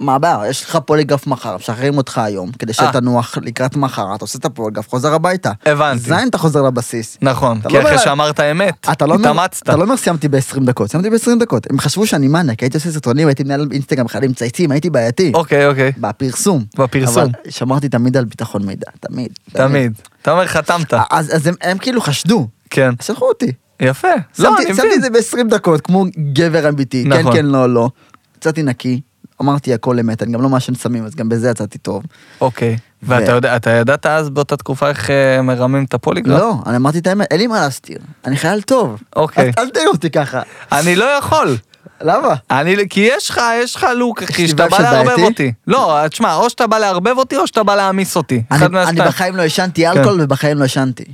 A: מה הבעיה? יש לך פוליגרף מחר, משחררים אותך היום, כדי
B: אה.
A: שתנוח לקראת מחר, אתה עושה את הפוליגרף, חוזר הביתה.
B: הבנתי.
A: זין אתה חוזר לבסיס.
B: נכון,
A: אתה
B: כי
A: לא
B: אחרי
A: אומר-
B: שאמרת אמת,
A: אתה לא אומר,
B: התאמצת.
A: אתה לא אומר סיימתי ב-20 דקות, סיימתי ב-20 דקות. הם חשבו שאני מניאק, הייתי עושה סרטונים, הייתי מנהל אינסטגרם, חיילים צייצים, הייתי בעייתי.
B: אוקיי, אוקיי.
A: בפרסום.
B: בפרסום.
A: אבל שמרתי תמיד על ביטחון מידע, תמיד.
B: תמיד. אתה אומר חתמת.
A: אז אז הם- הם כאילו חשדו,
B: כן.
A: אז שלחו אותי.
B: יפה. לא,
A: שמתי
B: אני
A: שמתי
B: מבין.
A: את זה ב-20 דקות, כמו גבר אמיתי, כן
B: נכון.
A: כן לא לא. יצאתי נקי, אמרתי הכל אמת, אני גם לא מעשן סמים, אז גם בזה יצאתי טוב.
B: אוקיי. ואתה יודע, אתה ידעת אז באותה תקופה איך אה, מרמים את הפוליגרף?
A: לא, אני אמרתי את האמת, אין לי מה להסתיר, אני חייל טוב.
B: אוקיי.
A: אז אל תראו אותי ככה.
B: אני לא יכול.
A: למה?
B: אני, לא- כי יש לך, יש לך לוק, אחי,
A: יש
B: שאתה
A: לי
B: בא
A: vibe של
B: לערבב
A: בעייתי?
B: אותי. לא, תשמע, או שאתה בא לערבב אותי, או שאתה בא להעמיס אותי. אחד כן.
A: אני, אני
B: מהשתיים.
A: בחיים לא עישנתי אלכוהול ובחיים לא עישנתי.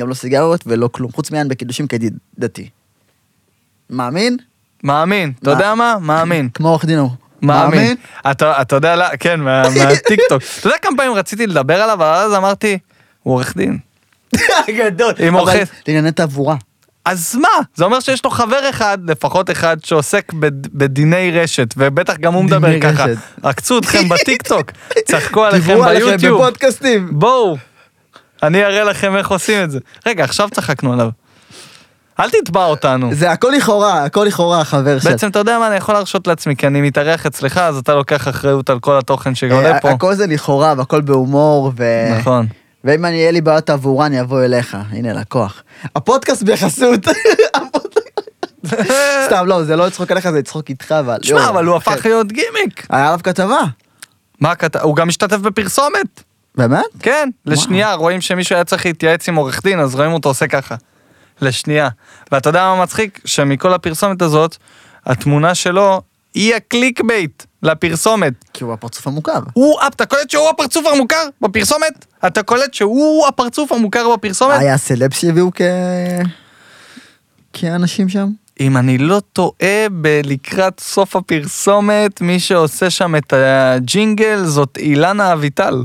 A: גם לא סיגריות ולא כלום, חוץ מיין בקידושים כידיד דתי. מאמין?
B: מאמין. אתה
A: מה?
B: יודע מה? מאמין.
A: כמו עורך דין הוא.
B: מאמין. אתה אתה יודע, לא- כן, מה- מהטיקטוק. אתה יודע כמה פעמים רציתי לדבר עליו, אבל אז אמרתי, הוא עורך דין.
A: גדול.
B: עם
A: אבל
B: אוחז.
A: לענייני תעבורה.
B: אז מה? זה אומר שיש לו חבר אחד, לפחות אחד, שעוסק בד- בדיני רשת, ובטח גם הוא
A: דיני
B: מדבר ככה.
A: רשת.
B: עקצו אתכם בטיקטוק, צחקו עליכם
A: דיברו עליכם
B: ביוטיוב.
A: בפודקאסטים.
B: בואו, אני אראה לכם איך עושים את זה. רגע, עכשיו צחקנו עליו. אל תתבע אותנו.
A: זה הכל לכאורה, הכל לכאורה החבר של.
B: בעצם אתה יודע מה, אני יכול להרשות לעצמי, כי אני מתארח אצלך, אז אתה לוקח אחריות על כל התוכן
A: אה,
B: שעולה פה.
A: הכל אה. זה לכאורה והכל בהומור ו...
B: נכון.
A: ואם אני יהיה לי בעיות תעבורה אני אבוא אליך, הנה לקוח. הפודקאסט בחסות. הפודקאסט- סתם לא, זה לא צחוק עליך, זה צחוק איתך, אבל...
B: תשמע,
A: יואו,
B: אבל הוא הפך
A: כן.
B: להיות גימיק.
A: היה עליו כתבה.
B: מה כתב? הוא גם השתתף בפרסומת.
A: באמת?
B: כן, לשנייה, רואים שמישהו היה צריך להתייעץ עם עורך דין, אז רואים אותו עושה ככה. לשנייה. ואתה יודע מה מצחיק? שמכל הפרסומת הזאת, התמונה שלו היא הקליק בייט לפרסומת.
A: כי הוא הפרצוף המוכר.
B: הוא, אתה קולט שהוא הפרצוף המוכר בפרסומת? אתה קולט שהוא הפרצוף המוכר בפרסומת?
A: היה סלב שהביאו כ... כאנשים שם?
B: אם אני לא טועה, בלקראת סוף הפרסומת, מי שעושה שם את הג'ינגל זאת אילנה אביטל.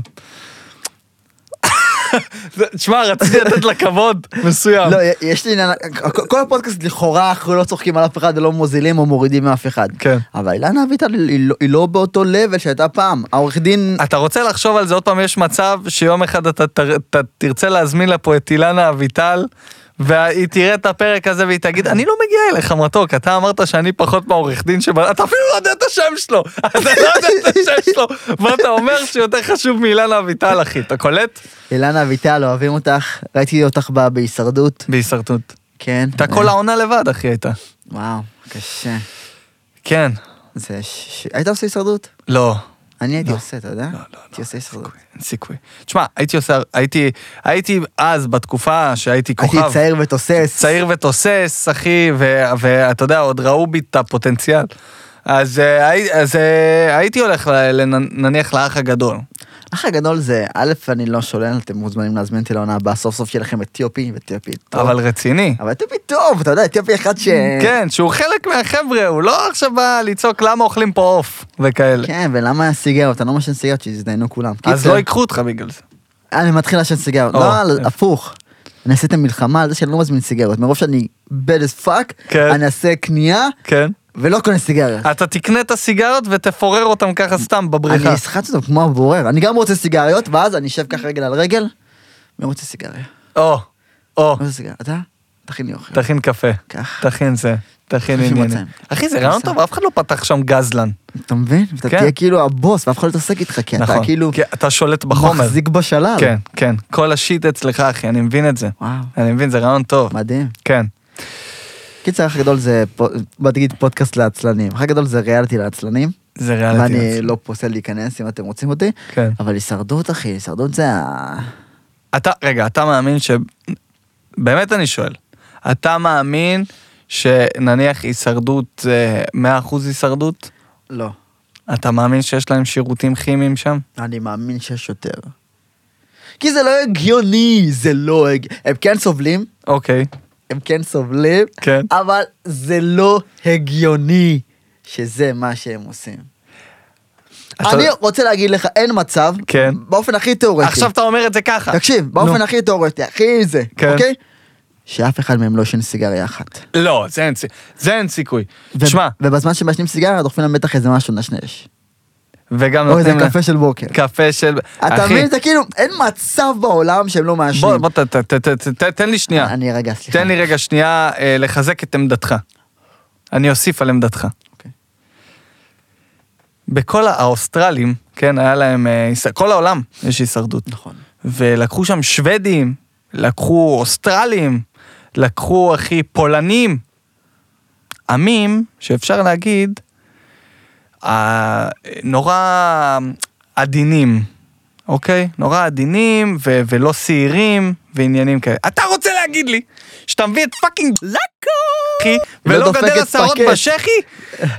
B: זה- תשמע, רציתי לתת לה כבוד מסוים.
A: לא, יש לי עניין, כל- כל הפודקאסט לכאורה אנחנו לא צוחקים על אף אחד ולא מוזילים או מורידים מאף אחד.
B: כן.
A: אבל אילנה אביטל היא לא- היא לא באותו לבל שהייתה פעם. העורך דין,
B: אתה רוצה לחשוב על זה עוד פעם, יש מצב שיום אחד אתה תר- ת- תרצה להזמין לפה את אילנה אביטל, והיא תראה את הפרק הזה והיא תגיד, אני לא מגיעה אליך מתוק, אתה אמרת שאני פחות מהעורך דין שבא, אתה אפילו לא יודע את השם שלו, אתה לא יודע את השם שלו, ואתה אומר שהוא יותר חשוב מאילנה אביטל, אחי, אתה קולט?
A: אילנה אביטל, אוהבים אותך, ראיתי אותך בה בהישרדות.
B: בהישרטוט.
A: כן.
B: אתה כל העונה לבד, אחי, הייתה.
A: וואו, קשה.
B: כן.
A: זה ש... ש- היית עושה הישרדות?
B: לא.
A: אני הייתי
B: לא.
A: עושה, אתה יודע?
B: לא, לא,
A: הייתי עושה הישרדות.
B: אין סיכוי. תשמע, הייתי עושה, הייתי, הייתי אז, בתקופה שהייתי
A: הייתי
B: כוכב,
A: צעיר ותוסס.
B: צעיר ותוסס, אחי, ו- ואתה יודע, עוד ראו בי את הפוטנציאל. אז, אה, הי- אז אה, הייתי הולך, ל- לנ- נניח, לאח הגדול.
A: אח הגדול זה, א', אני לא שולל, אתם מוזמנים להזמין אותי לעונה הבאה, סוף סוף שיהיה לכם אתיופי ואתיופי טוב. אה.
B: אבל רציני.
A: אבל אתיופי טוב, אתה יודע, אתיופי אחד ש...
B: כן, שהוא חלק מהחבר'ה, הוא לא עכשיו בא לצעוק למה אוכלים פה עוף וכאלה.
A: כן, ולמה סיגרות? אני לא מעשן סיגרות, שיזדיינו כולם.
B: אז
A: קיצר,
B: לא ייקחו אותך בגלל זה.
A: אני מתחיל לעשן סיגרות.
B: או,
A: לא,
B: יפה.
A: לא, הפוך. אני עשיתי מלחמה על זה שאני לא מזמין סיגרות. מרוב שאני bad as fuck,
B: כן.
A: אני אעשה קנייה,
B: כן.
A: ולא קונה סיגריות.
B: אתה תקנה את הסיגריות ותפורר אותם ככה סתם בבריכה.
A: אני אסחט אותו כמו הבורר, אני גם רוצה סיגריות, ואז אני אשב ככה רגל על רגל, ואני רוצה סיגריה.
B: או, או,
A: לא רוצה סיגריה, אתה? תכין לי אוכל.
B: תכין קפה,
A: קח.
B: תכין זה, תכין
A: תכין
B: עניינים.
A: מצעים.
B: אחי, זה רעיון
A: בסדר.
B: טוב, אף אחד לא פתח שם גזלן.
A: אתה מבין? אתה
B: כן.
A: תהיה כאילו הבוס, ואף אחד לא יתעסק איתך, כי אתה
B: נכון.
A: כאילו
B: כי אתה שולט בחומר.
A: מחזיק בשלל.
B: כן, כן. כל השיט אצלך, אחי, אני מבין את זה.
A: וואו,
B: אני מבין, זה רעיון טוב.
A: מדהים.
B: כן.
A: קיצר, אח גדול זה, פו- בוא תגיד פודקאסט לעצלנים. אח גדול זה ריאליטי לעצלנים,
B: זה ריאליטי.
A: ואני
B: מצוין.
A: לא פוסל להיכנס אם אתם רוצים אותי,
B: כן.
A: אבל הישרדות, אחי, הישרדות זה ה...
B: אתה, רגע, אתה מאמין ש... באמת אני שואל. אתה מאמין שנניח הישרדות זה 100% הישרדות?
A: לא.
B: אתה מאמין שיש להם שירותים כימיים שם?
A: אני מאמין שיש יותר. כי זה לא הגיוני, זה לא הגיוני. הם כן סובלים,
B: אוקיי.
A: הם כן סובלים,
B: כן.
A: אבל זה לא הגיוני שזה מה שהם עושים.
B: אתה-
A: אני רוצה להגיד לך, אין מצב,
B: כן.
A: באופן הכי תיאורטי,
B: עכשיו אתה אומר את זה ככה.
A: תקשיב, באופן
B: נו.
A: הכי תיאורטי, הכי זה,
B: כן.
A: אוקיי? שאף אחד מהם לא ישן סיגריה אחת.
B: לא, זה אין סי- זה אין סיכוי.
A: ו-
B: שמע,
A: ובזמן שמעשנים סיגריה דוחפים להם בטח איזה משהו נשנש.
B: וגם
A: או איזה
B: נותנים לה-
A: קפה של בוקר.
B: קפה של...
A: אתה
B: אחי,
A: מבין? זה כאילו, אין מצב בעולם שהם לא מעשנים.
B: בוא, בוא, ת- ת- ת- ת- ת- תן לי שנייה.
A: אני רגע, סליחה.
B: תן לי רגע שנייה אה, לחזק את עמדתך. אני אוסיף על עמדתך.
A: אוקיי.
B: בכל האוסטרלים, כן, היה להם, אה, היש- כל העולם יש הישרדות.
A: נכון.
B: ולקחו שם שוודים, לקחו אוסטרלים, לקחו הכי פולנים. עמים שאפשר להגיד, אה, נורא עדינים, אוקיי? נורא עדינים ו- ולא שעירים ועניינים כאלה. אתה רוצה להגיד לי שאתה מביא את פאקינג לקו, אחי,
A: לא
B: ולא
A: דופק
B: גדל
A: את
B: לשערות
A: פקט.
B: בשחי?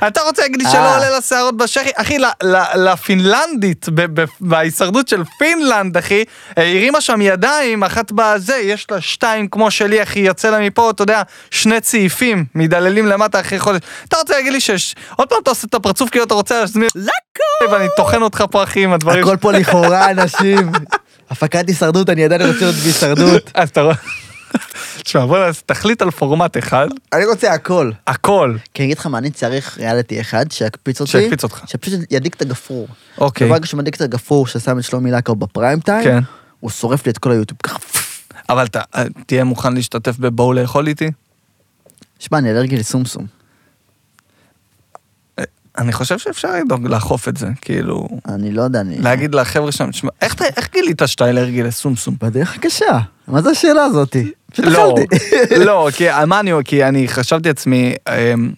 B: אתה רוצה להגיד לי
A: אה.
B: שלא עולה לשערות בשחי? אחי, ל- ל- לפינלנדית, ב- ב- בהישרדות של פינלנד, אחי, אה, הרימה שם ידיים, אחת בזה, יש לה שתיים כמו שלי, אחי, יוצא לה מפה, אתה יודע, שני צעיפים, מדללים למטה אחרי חודש. אתה רוצה להגיד לי שיש... עוד פעם אתה עושה את הפרצוף כאילו אתה רוצה להזמין... לקו! ואני טוחן אותך פה, אחי, עם הדברים.
A: הכל פה לכאורה, אנשים. הפקת הישרדות, אני עדיין רוצה להיות בהישרדות.
B: אז אתה רואה... תשמע, בוא נעשה, תחליט על פורמט אחד,
A: אני רוצה הכל.
B: הכל.
A: כי אני אגיד לך מה, אני צריך ריאליטי אחד שיקפיץ אותי.
B: שיקפיץ אותך.
A: שפשוט ידליק את הגפרור.
B: אוקיי.
A: ברגע שמדליק את הגפרור ששם את שלומי לקו בפריים טיים,
B: כן.
A: הוא שורף לי את כל היוטיוב ככה.
B: אבל אתה אה, תהיה מוכן להשתתף בבואו לאכול איתי?
A: שמע, אני אלרגי לסומסום.
B: אני חושב שאפשר לדאוג לאכוף את זה, כאילו...
A: אני לא יודע, אני...
B: להגיד לחבר'ה שם, תשמע, איך אתה- איך גילית שאתה אלרגי לסומסום?
A: בדרך הקשה. מה זה השאלה הזאתי? פשוט
B: לא,
A: אכלתי.
B: לא, כי מה אני, כי אני חשבתי לעצמי, אמ,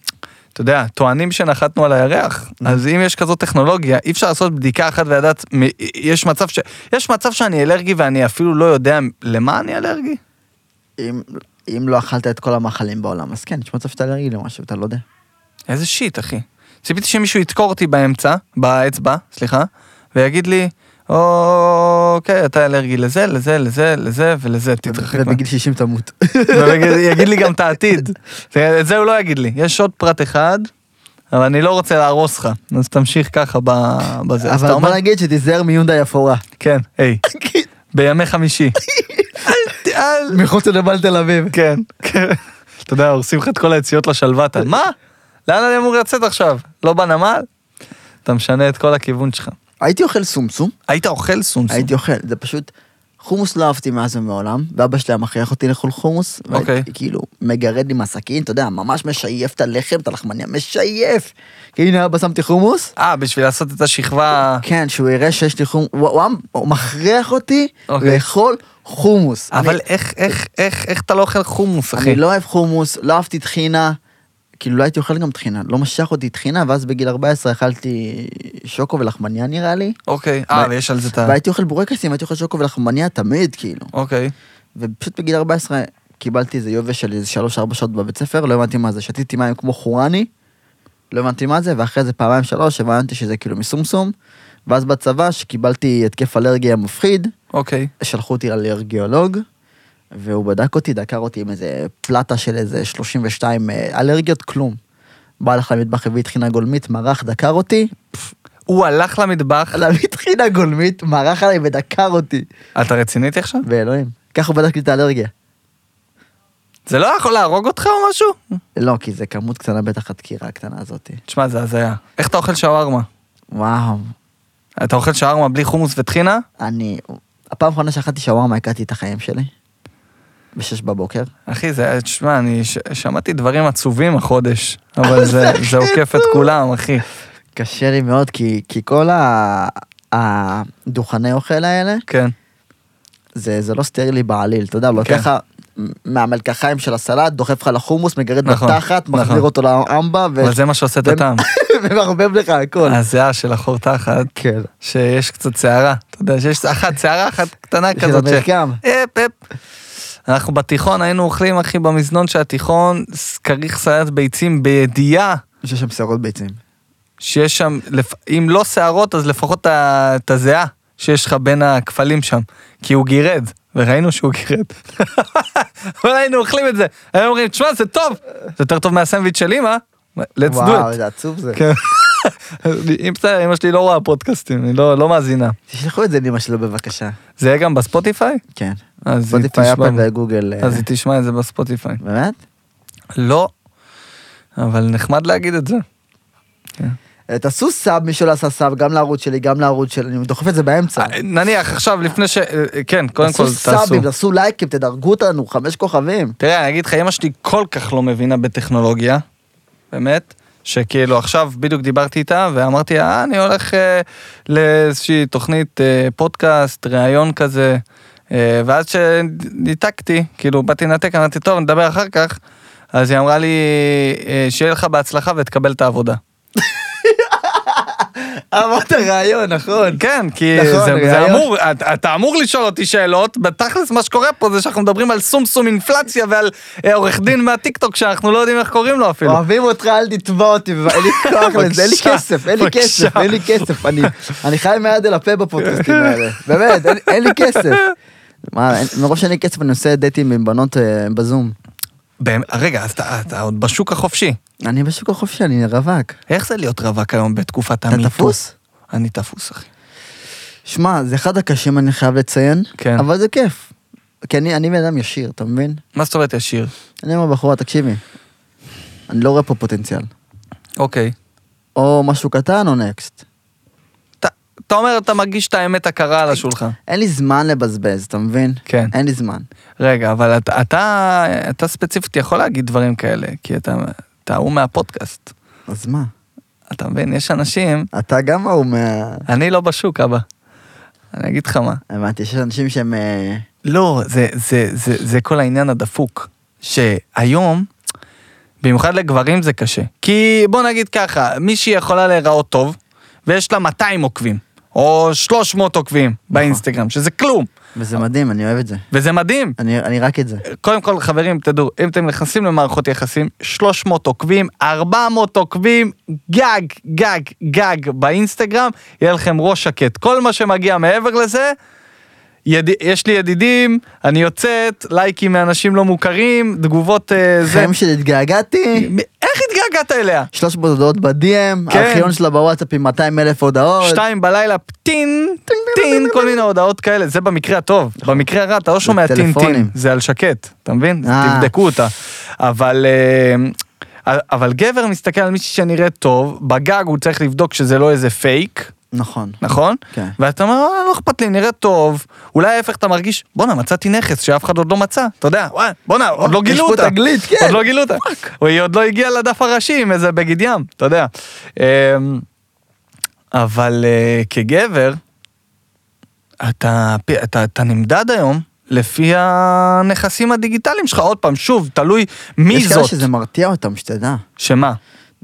B: אתה יודע, טוענים שנחתנו על הירח, אז אם יש כזאת טכנולוגיה, אי אפשר לעשות בדיקה אחת ולדעת, מ- יש מצב ש... יש מצב שאני אלרגי ואני אפילו לא יודע למה אני אלרגי?
A: אם- אם לא אכלת את כל המאכלים בעולם, אז כן, יש מצב שאתה אלרגי למשהו, אתה לא יודע.
B: איזה שיט, אחי. ציפיתי שמישהו ידקור אותי באמצע, באצבע, סליחה, ויגיד לי, אוקיי, אתה אלרגי לזה, לזה, לזה, לזה ולזה, תתרחק. מה-"
A: ובגיל 60 תמות.
B: ויגיד לי גם את העתיד. זה- את זה הוא לא יגיד לי. יש עוד פרט אחד, אבל אני לא רוצה להרוס לך, אז תמשיך ככה ב- בזה. אז אתה
A: אבל
B: אומר,
A: בוא נגיד שתיזהר מיונדאי אפורה.
B: כן, היי, בימי חמישי. אל ת- אל...
A: מחוץ לנמל תל אביב.
B: כן, כן. אתה יודע, הורסים לך את כל היציאות
A: אה,
B: לשלוותה. מה? לאן אני אמור לצאת עכשיו? לא בנמל? אתה משנה את כל הכיוון שלך.
A: הייתי אוכל סומסום,
B: היית אוכל סומסום.
A: הייתי אוכל, זה פשוט, חומוס לא אהבתי מאז ומעולם, ואבא שלי היה מכריח אותי לאכול חומוס,
B: אוקיי.
A: והייתי כאילו מגרד לי מהסכין, אתה יודע, ממש משייף את הלחם, את הלחמניה, משייף. כי הנה אבא שמתי חומוס,
B: אה, בשביל לעשות את השכבה...
A: כן, שהוא יראה שיש לי חומוס, הוא- הוא היה- הוא מכריח אותי
B: אוקיי.
A: לאכול חומוס.
B: אבל
A: כן. אני-
B: איך, איך, איך, איך אתה לא אוכל חומוס, אחי?
A: אני לא אוהב חומוס, לא אהבתי טחינה. כאילו לא הייתי אוכל גם טחינה, לא משך אותי טחינה, ואז בגיל 14 אכלתי שוקו ולחמניה נראה לי.
B: אוקיי, אה,
A: ב-
B: ויש על זה את ה...
A: והייתי אוכל בורקסים, הייתי אוכל שוקו ולחמניה תמיד, כאילו.
B: אוקיי.
A: ופשוט בגיל 14 קיבלתי איזה יובש של איזה 3-4 שעות בבית ספר, לא הבנתי מה זה, שתיתי מים כמו חורני, לא הבנתי מה זה, ואחרי זה פעמיים שלוש הבנתי שזה כאילו מסומסום, ואז בצבא, שקיבלתי התקף אלרגיה מפחיד,
B: אוקיי.
A: שלחו אותי לאלרגיולוג, והוא בדק אותי, דקר אותי עם איזה פלטה של איזה 32 אה, אלרגיות, כלום. בא לך למטבח, הביא טחינה גולמית, מרח, דקר אותי,
B: הוא הלך למטבח,
A: להביא טחינה גולמית, מרח עליי ודקר אותי.
B: אתה רצינית עכשיו?
A: ואלוהים, ככה הוא בדק לי את האלרגיה.
B: זה לא יכול להרוג אותך או משהו?
A: לא, כי זה כמות קטנה, בטח הדקירה הקטנה הזאת.
B: תשמע, זה הזיה. איך אתה אוכל שווארמה?
A: וואו,
B: אתה אוכל שווארמה בלי חומוס וטחינה?
A: אני... הפעם האחרונה שאכלתי שווארמה, הכרתי את החיים שלי. בשש בבוקר.
B: אחי, זה היה, תשמע, אני ש... שמעתי דברים עצובים החודש, אבל זה, זה עוקף את כולם, אחי.
A: קשה לי מאוד, כי, כי כל ה- הדוכני אוכל האלה,
B: כן.
A: זה, זה לא סטרילי בעליל, אתה יודע, לוקח
B: כן.
A: לך מהמלקחיים של הסלט, דוחף לך לחומוס, מגרד
B: נכון,
A: בתחת, מחזיר
B: נכון.
A: אותו לאמבה, ו-
B: אבל זה מה שעושה את
A: ו-
B: הטעם.
A: ומערבב לך הכל.
B: הזיעה של החור תחת,
A: כן.
B: שיש קצת שערה. אתה יודע, שיש אחת, שערה אחת קטנה
A: של
B: כזאת. ש-
A: המרקם.
B: אפ, אפ. אנחנו בתיכון היינו אוכלים, אחי, במזנון של התיכון, ס- כריך סלט ביצים בידיעה
A: יש שם שערות ביצים.
B: שיש שם, לפ- אם לא שערות, אז לפחות ה- את הזיעה שיש לך בין הכפלים שם. כי הוא גירד, וראינו שהוא גירד. אבל היינו אוכלים את זה. היינו אומרים, תשמע, זה טוב, זה יותר טוב מהסנדוויץ של אמא, let's do
A: וואו,
B: it.
A: זה עצוב זה.
B: כן. אם בסדר, אמא שלי לא רואה פודקאסטים, היא לא לא מאזינה.
A: תשלחו את זה לאמא שלו בבקשה.
B: זה יהיה גם בספוטיפיי?
A: כן.
B: אז היא
A: ספוטיפיי, אפל
B: תשמע-
A: וגוגל. אה,
B: אז היא תשמע את זה בספוטיפיי.
A: באמת?
B: לא, אבל נחמד להגיד את זה.
A: אה, תעשו סאב, מי שלא עשה סאב, גם לערוץ שלי, גם לערוץ שלי, אני דוחף את זה באמצע.
B: נניח עכשיו, לפני ש... אה, כן, קודם אה, כל,
A: תעשו
B: תעשו.
A: סאבים, תעשו לייקים, תדרגו אותנו, חמש כוכבים.
B: תראה, אני אגיד לך, אמא שלי כל כך לא מבינה בטכנולוגיה, באמת, שכאילו עכשיו בדיוק דיברתי איתה ואמרתי לה, אה, אני הולך אה, לאיזושהי תוכנית אה, פודקאסט, ראיון כזה, אה, ואז שניתקתי, כאילו באתי לנתק, אמרתי, טוב, נדבר אחר כך, אז היא אמרה לי, אה, שיהיה לך בהצלחה ותקבל את העבודה. אה,
A: אמרת רעיון, נכון.
B: כן, כי
A: נכון,
B: זה, זה
A: ראיות.
B: אמור, אתה, אתה אמור לשאול אותי שאלות, בתכלס מה שקורה פה זה שאנחנו מדברים על סומסום אינפלציה ועל אה, עורך דין מהטיקטוק שאנחנו לא יודעים איך קוראים לו אפילו.
A: אוהבים אותך, אל תתבע אותי, אין לי כוח לזה, אין לי
B: בבקשה,
A: כסף, אין לי
B: בבקשה.
A: כסף, אין לי כסף. אני- אני חי מהיד אל הפה בפודקאסטים האלה, באמת, אין- אין לי כסף. מה, אין- מרוב שאין לי כסף אני עושה דייטים עם בנות אה, בזום.
B: באמת, רגע, אז אתה, אתה עוד בשוק החופשי.
A: אני בשוק החופשי, אני רווק.
B: איך זה להיות רווק היום בתקופת
A: אתה
B: המיטו?
A: תפוס?
B: אני תפוס, אחי.
A: שמע, זה אחד הקשים, אני חייב לציין,
B: כן.
A: אבל זה כיף. כי אני אני בן אדם ישיר, אתה מבין?
B: מה זאת אומרת ישיר?
A: אני אומר בחורה, תקשיבי, אני לא רואה פה פוטנציאל.
B: אוקיי.
A: או משהו קטן או נקסט.
B: אתה, אתה אומר, אתה מרגיש את האמת הקרה על השולחן.
A: אין לי זמן לבזבז, אתה מבין?
B: כן.
A: אין לי זמן.
B: רגע, אבל אתה, אתה, אתה ספציפית יכול להגיד דברים כאלה, כי אתה, אתה ההוא מהפודקאסט.
A: אז מה?
B: אתה מבין? יש אנשים,
A: אתה גם ההוא מה...
B: אני לא בשוק, אבא. אני אגיד לך מה.
A: הבנתי, יש אנשים שהם... אה,
B: לא, זה, זה, זה, זה כל העניין הדפוק. שהיום, במיוחד לגברים זה קשה. כי בוא נגיד ככה, מישהי יכולה להיראות טוב, ויש לה 200 עוקבים, או 300 עוקבים באינסטגרם, שזה כלום,
A: וזה מדהים, אני אוהב את זה.
B: וזה מדהים.
A: אני, אני רק את זה.
B: קודם כל, חברים, תדעו, אם אתם נכנסים למערכות יחסים, 300 עוקבים, 400 עוקבים, גג, גג, גג באינסטגרם, יהיה לכם ראש שקט. כל מה שמגיע מעבר לזה, יד... יש לי ידידים, אני יוצאת, לייקים מאנשים לא מוכרים, תגובות אה, זה.
A: חיים שלי, התגעגעתי,
B: איך התגעגעת אליה?
A: 300 הודעות ב-DM,
B: כן.
A: הארכיון שלה בוואטסאפ עם 200 אלף הודעות.
B: שתיים בלילה, טין, טין, כל מיני הודעות כאלה, זה במקרה הטוב. במקרה הרע אתה לא שומע טין טין,
A: טלפונים.
B: זה על שקט, אתה מבין?
A: אה.
B: תבדקו אותה. אבל... אה, אבל גבר מסתכל על מישהי שנראית טוב, בגג הוא צריך לבדוק שזה לא איזה פייק,
A: נכון.
B: נכון?
A: כן.
B: ואתה אומר, "אה, לא אכפת לי, נראית טוב. אולי ההפך אתה מרגיש, בואנה, מצאתי נכס שאף אחד עוד לא מצא. אתה יודע, "וואי, בואנה, עוד לא
A: יש
B: גילו
A: פה
B: אותה.
A: תגלית, כן.
B: עוד לא גילו אותה. היא עוד לא הגיעה לדף הראשי עם איזה בגד ים, אתה יודע. אמ, אבל אה, כגבר, אתה, אתה, אתה נמדד היום לפי הנכסים הדיגיטליים שלך. עוד פעם, שוב, תלוי מי
A: יש כאלה
B: זאת.
A: שזה מרתיע אותם, שתדע.
B: שמה?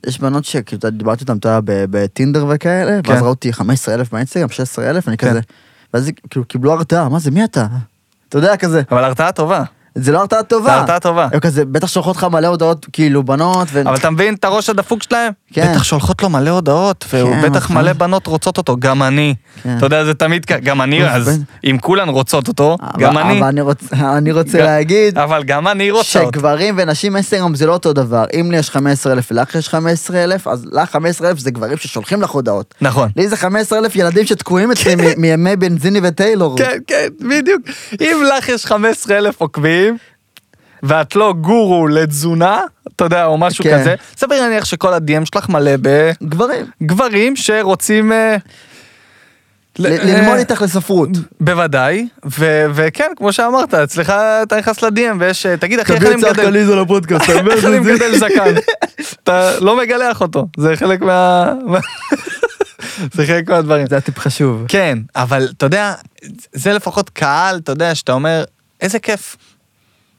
A: יש בנות שכאילו, אתה יודע, דיברתי אותן, אתה יודע, ב- בטינדר וכאלה,
B: כן.
A: ואז ראו אותי 15 אלף באינסטגרם, 16 אלף, אני
B: כן.
A: כזה, ואז כאילו קיבלו הרתעה, מה זה, מי אתה? אתה יודע, כזה,
B: אבל הרתעה טובה.
A: זה לא הרתעה טובה.
B: זה הרתעה טובה.
A: הם כזה, בטח שולחות לך מלא הודעות, כאילו, בנות, ו...
B: אבל אתה מבין את הראש הדפוק שלהם?
A: כן.
B: בטח שולחות לו מלא הודעות, והוא
A: כן,
B: בטח
A: נכון.
B: מלא בנות רוצות אותו, גם אני.
A: כן.
B: אתה יודע, זה תמיד ככה, גם אני
A: אוף,
B: אז,
A: בן.
B: אם כולן רוצות אותו,
A: אבל-
B: גם אני.
A: אבל אני רוצה, אני רוצה
B: גם-
A: להגיד,
B: אבל גם אני רוצה אותו.
A: שגברים ונשים אינסטגרם זה לא אותו דבר. אם לי יש 15 אלף ולך יש 15 אלף, אז לך 15 אלף זה גברים ששולחים לך הודעות.
B: נכון.
A: לי זה 15 אלף ילדים שתקועים אצלי מ- מימי בנזיני וטיילור.
B: כן, כן, בדיוק. אם לך יש 15 אלף עוקבים, ואת לא גורו לתזונה, אתה יודע, או משהו
A: כן.
B: כזה, סביר להניח שכל הדי.אם שלך מלא
A: גברים.
B: בגברים שרוצים... אה, ל-
A: ל- ללמוד
B: אה,
A: איתך לספרות.
B: בוודאי, ו- וכן, כמו שאמרת, אצלך אתה נכנס לדי.אם ויש, אה, תגיד אחי, איך
A: תביא
B: אני
A: את צח
B: מגדל?
A: קליז על הפודקאסט, אתה אומר
B: איך אני
A: את זה?
B: מגדל זקן? אתה לא מגלח אותו, זה חלק מה... זה חלק מהדברים.
A: זה היה טיפ חשוב.
B: כן, אבל אתה יודע, זה לפחות קהל, אתה יודע, שאתה אומר, איזה כיף.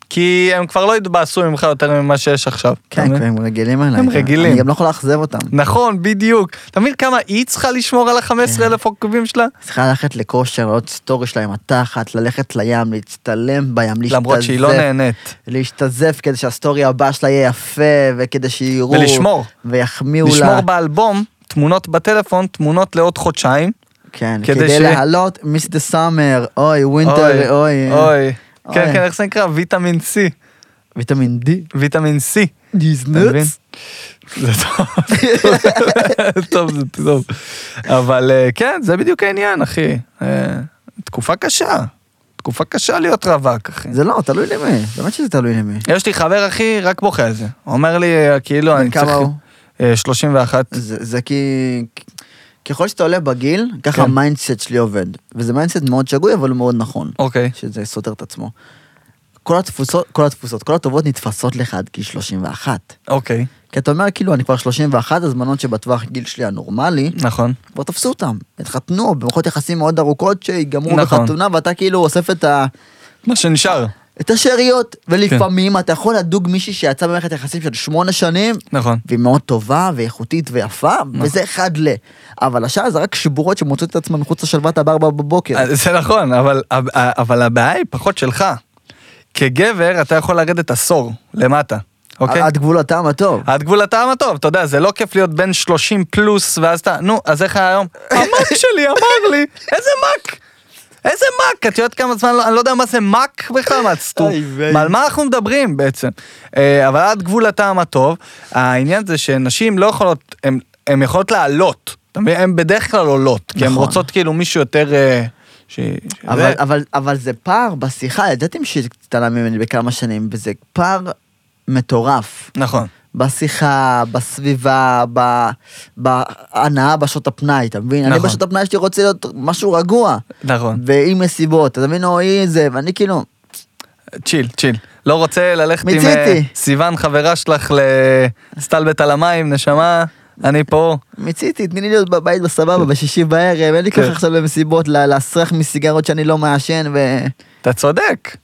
B: כי הם כבר לא התבאסו ממך יותר ממה שיש עכשיו. אתה
A: כן,
B: מבין?
A: כי הם רגילים אליי.
B: הם רגילים.
A: אני גם לא יכול לאכזב אותם.
B: נכון, בדיוק. אתה מבין כמה היא צריכה לשמור על ה-15 אלף עוקבים שלה?
A: צריכה ללכת לכושר, לעלות סטורי שלה עם התחת, ללכת לים, להצטלם בים, להשתזף.
B: למרות שהיא לא נהנית.
A: להשתזף כדי שהסטורי הבא שלה יהיה יפה, וכדי שיראו.
B: ולשמור.
A: ויחמיאו לה.
B: לשמור באלבום תמונות בטלפון, תמונות לעוד חודשיים.
A: כן,
B: כדי
A: כדי
B: ש-
A: להעלות מיס דה סאמר, אוי, ווינטר, אוי.
B: אוי.
A: אוי.
B: כן, כן, איך זה נקרא? ויטמין C.
A: ויטמין D.
B: ויטמין C.
A: These
B: אתה מבין? זה טוב. טוב, זה טוב. אבל אה, כן, זה בדיוק העניין, אחי. אה, תקופה קשה. תקופה קשה להיות רווק, אחי.
A: זה לא, תלוי למי, באמת שזה תלוי למי.
B: יש לי חבר, אחי, רק בוכה על זה. הוא אומר לי, אה, כאילו, אני
A: כמה
B: צריך...
A: הוא?
B: אה, 31.
A: זה זה כי... ככל שאתה עולה בגיל, ככה
B: כן.
A: המיינדסט שלי עובד. וזה מיינדסט מאוד שגוי, אבל הוא מאוד נכון.
B: אוקיי.
A: שזה סותר את עצמו. כל התפוסות, כל התפוסות, כל הטובות נתפסות לך עד גיל 31.
B: אוקיי.
A: כי אתה אומר, כאילו, אני כבר 31, אז בנות שבטווח גיל שלי הנורמלי,
B: נכון.
A: כבר תפסו אותם, התחתנו, במערכות יחסים מאוד ארוכות שיגמרו
B: נכון.
A: בחתונה, ואתה כאילו אוסף את, ה...
B: מה שנשאר.
A: את השאריות.
B: כן.
A: ולפעמים אתה יכול לדוג מישהי שיצאה במערכת יחסים של שמונה שנים,
B: נכון.
A: והיא מאוד טובה ואיכותית ויפה, וזה אחד ל... אבל השאר זה רק שבורות שמוצאות את עצמן מחוץ לשלוות הברבה בבוקר.
B: אה, זה נכון, אבל- אבל הבעיה היא פחות שלך. כגבר, אתה יכול לרדת עשור למטה, אוקיי?
A: עד גבול הטעם הטוב.
B: עד גבול הטעם הטוב, אתה יודע, זה לא כיף להיות בן 30 פלוס, ואז אתה, נו, אז איך היה היום? המק שלי אמר לי, איזה מק! איזה מק! את יודעת כמה זמן, לא- אני לא יודע מה זה מק בכלל, מה סתום.
A: אוי ויי.
B: על מה אנחנו מדברים בעצם? אה, אבל עד גבול הטעם הטוב, העניין זה שנשים לא יכולות, הן- הן יכולות לעלות. אתה מבין? הן בדרך כלל עולות, כי הן
A: נכון.
B: רוצות כאילו מישהו יותר... אה, ש- ש-
A: אבל,
B: זה-
A: אבל, אבל זה פער בשיחה, ידעתם שהיא קטנה ממני בכמה שנים, וזה פער מטורף.
B: נכון.
A: בשיחה, בסביבה, ב- בהנאה בשעות הפנאי, אתה מבין? אני
B: נכון.
A: בשעות הפנאי שלי רוצה להיות משהו רגוע,
B: נכון.
A: ועם מסיבות, אתה מבין? או אי זה, ואני כאילו,
B: צ'יל, צ'יל. לא רוצה ללכת עם
A: מיציתי.
B: אה, סיוון, חברה שלך, לסטלבט על המים, נשמה, אני פה.
A: מיציתי, תני לי להיות בבית בסבבה, בשישי בערב, אין לי
B: כן.
A: ככה עכשיו במסיבות לה- להסריח מסיגרות שאני לא מעשן, ו...
B: אתה צודק.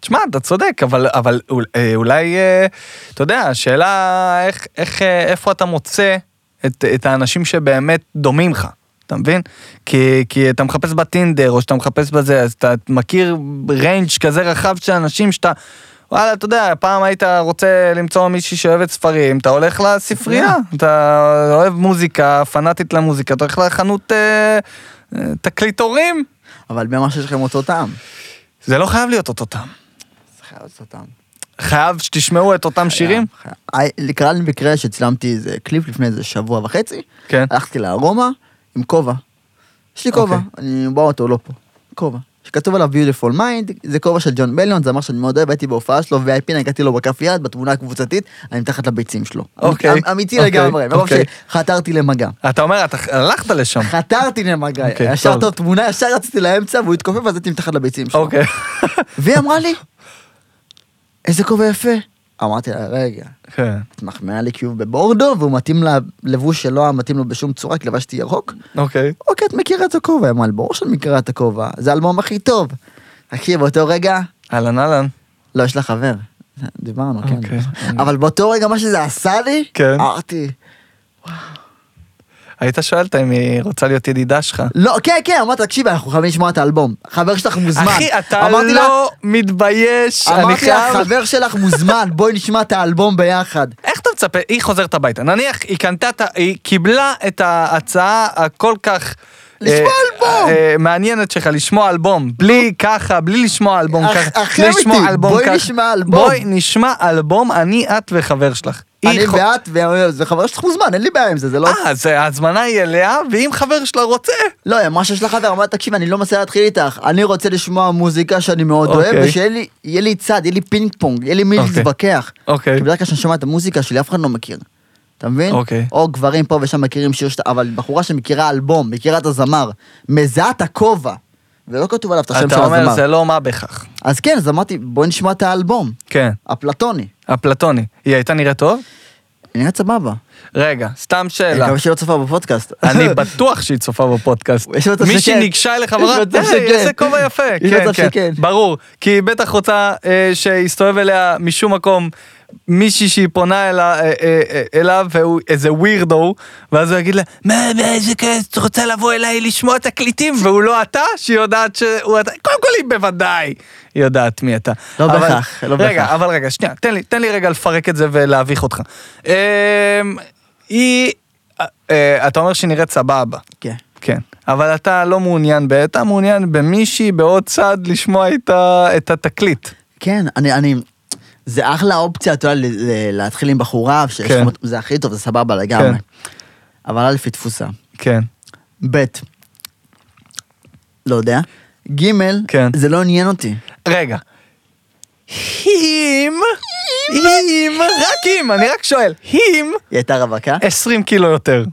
B: תשמע, אתה צודק, אבל, אבל אול- אה, אולי, אה, אתה יודע, השאלה איך, איך, אה, איפה אתה מוצא את, את האנשים שבאמת דומים לך, אתה מבין? כי, כי אתה מחפש בטינדר, או שאתה מחפש בזה, אז אתה מכיר ריינג' כזה רחב של אנשים שאתה, וואלה, אתה יודע, פעם היית רוצה למצוא מישהי שאוהבת ספרים, אתה הולך לספרייה, אתה אוהב מוזיקה, פנאטית למוזיקה, אתה הולך לחנות אה, אה, תקליטורים,
A: אבל מי אמר שיש לכם אותו טעם?
B: זה לא חייב להיות אותו טעם.
A: זה חייב להיות אותו טעם.
B: חייב שתשמעו את אותם שירים?
A: חייב, חייב. אה, קרה לי מקרה שצילמתי איזה קליפ לפני איזה שבוע וחצי,
B: כן.
A: הלכתי לארומה עם כובע. יש לי כובע,
B: אוקיי.
A: אני באוטו, לא פה. כובע. שכתוב עליו Beautiful Mind, זה כובע של ג'ון בליון, זמר שאני מאוד אוהב, הייתי בהופעה שלו, VIP נגעתי לו בכף יד, בתמונה הקבוצתית, אני מתחת לביצים שלו.
B: אוקיי.
A: אמ- אמיתי
B: אוקיי,
A: לגמרי, מרוב
B: אוקיי.
A: שחתרתי למגע.
B: אתה אומר, אתה הלכת לשם.
A: חתרתי למגע,
B: אוקיי,
A: ישר
B: טוב.
A: טוב תמונה, ישר רציתי לאמצע והוא התכופף ואז הייתי מתחת לביצים שלו.
B: אוקיי.
A: והיא אמרה לי, איזה כובע יפה. אמרתי לה, רגע,
B: כן.
A: את מחמיאה לי כי הוא בבורדו והוא מתאים ללבוש שלא היה מתאים לו בשום צורה כי לבשתי ירוק.
B: אוקיי.
A: אוקיי, את מכירה את הכובע, היא אמרה, ברור שאני מכירה את הכובע, זה האלבום הכי טוב. תקשיב, באותו רגע,
B: אהלן אהלן.
A: לא, יש לה חבר. דיברנו, כן.
B: אוקיי.
A: אבל באותו רגע, מה שזה עשה לי,
B: כן.
A: אמרתי,
B: היית שואל אותה אם היא רוצה להיות ידידה שלך.
A: לא, כן, כן, אמרתי, תקשיבי, אנחנו חייבים לשמוע את האלבום. חבר שלך מוזמן.
B: אחי, אתה
A: אמרתי לה,
B: לא מתבייש. אני
A: אמרתי לה,
B: חייב...
A: חבר שלך מוזמן, בואי נשמע את האלבום ביחד.
B: איך אתה מצפה? היא חוזרת הביתה. נניח, היא קנתה, את ה- היא קיבלה את ההצעה הכל כך...
A: לשמוע
B: אה,
A: אלבום!
B: אה, מעניינת שלך, לשמוע אלבום. בלי ככה, בלי לשמוע אלבום
A: אח-
B: ככה.
A: אחרי
B: לשמוע
A: אותי,
B: אלבום
A: בואי
B: ככה.
A: נשמע אלבום.
B: בואי נשמע אלבום, אני, את וחבר שלך. היא
A: אני
B: חו-
A: ואת, וזה חבר שלך מוזמן, אין לי בעיה עם זה, זה לא...
B: אה, זה- ההזמנה היא אליה, ואם חבר שלה רוצה...
A: לא, היא אמרה שיש לה חבר, אמרה, תקשיב, אני לא מנסה להתחיל איתך, אני רוצה לשמוע מוזיקה שאני מאוד אוהב,
B: אוקיי.
A: ושיהיה לי יהיה לי צד, יהיה לי פינג פונג, יהיה לי מי
B: אוקיי.
A: להתווכח.
B: אוקיי.
A: כי בדרך כלל כשאני שומע את המוזיקה שלי, אף אחד לא מכיר. אתה מבין?
B: אוקיי.
A: או גברים פה ושם מכירים שיר שאתה, אבל בחורה שמכירה אלבום, מכירה את הזמר, מזהה את הכובע, ולא כתוב עליו את השם
B: אתה
A: של
B: אומר,
A: הזמר.
B: זה לא מה בכך.
A: אז כן, אז אמרתי, בוא נשמע את האלבום,
B: כן.
A: אפלטוני.
B: אפלטוני. היא הייתה נראית טוב?
A: נראית סבבה.
B: רגע, סתם
A: אני
B: שאלה.
A: מקווה שלא צופה בפודקאסט.
B: אה, לא. אני בטוח שהיא צופה בפודקאסט.
A: יש מצב
B: מי
A: שכן.
B: שניגשה אליך
A: יש
B: אמרה,
A: מצב
B: "היי,
A: שכן."
B: איזה כובע יפה. כן,
A: יש מצב שכן.
B: ברור, כי היא בטח רוצה אה, שיסתובב אליה משום מקום מישהי שהיא פונה אלה- אה, אה, אה, אליו, והוא איזה ווירדו, ואז הוא יגיד לה, מה, מה, איזה כיף, את רוצה לבוא אליי לשמוע תקליטים, והוא לא אתה, שהיא יודעת שהוא אתה, קודם כל היא בוודאי יודעת מי אתה.
A: לא
B: אבל-
A: בהכרח, לא
B: רגע,
A: בהכרח.
B: אבל רגע, שנייה, תן לי, תן לי רגע לפרק את זה ולהביך אותך. אמ, היא, אה, אה, אתה אומר שהיא נראית סבבה.
A: כן.
B: כן. אבל אתה לא מעוניין ב... אתה מעוניין במישהי בעוד צד לשמוע את, ה, את התקליט.
A: כן, אני, אני, זה אחלה אופציה, אתה יודע, ל- ל- להתחיל עם בחורה, שיש
B: כן.
A: לך- זה הכי טוב, זה סבבה לגמרי. אבל א', היא תפוסה.
B: כן.
A: ב', לא יודע. ג',
B: כן.
A: זה לא עניין אותי.
B: רגע. אם, אם, רק אם, אני רק שואל, אם,
A: היא הייתה רווקה?
B: 20 קילו יותר,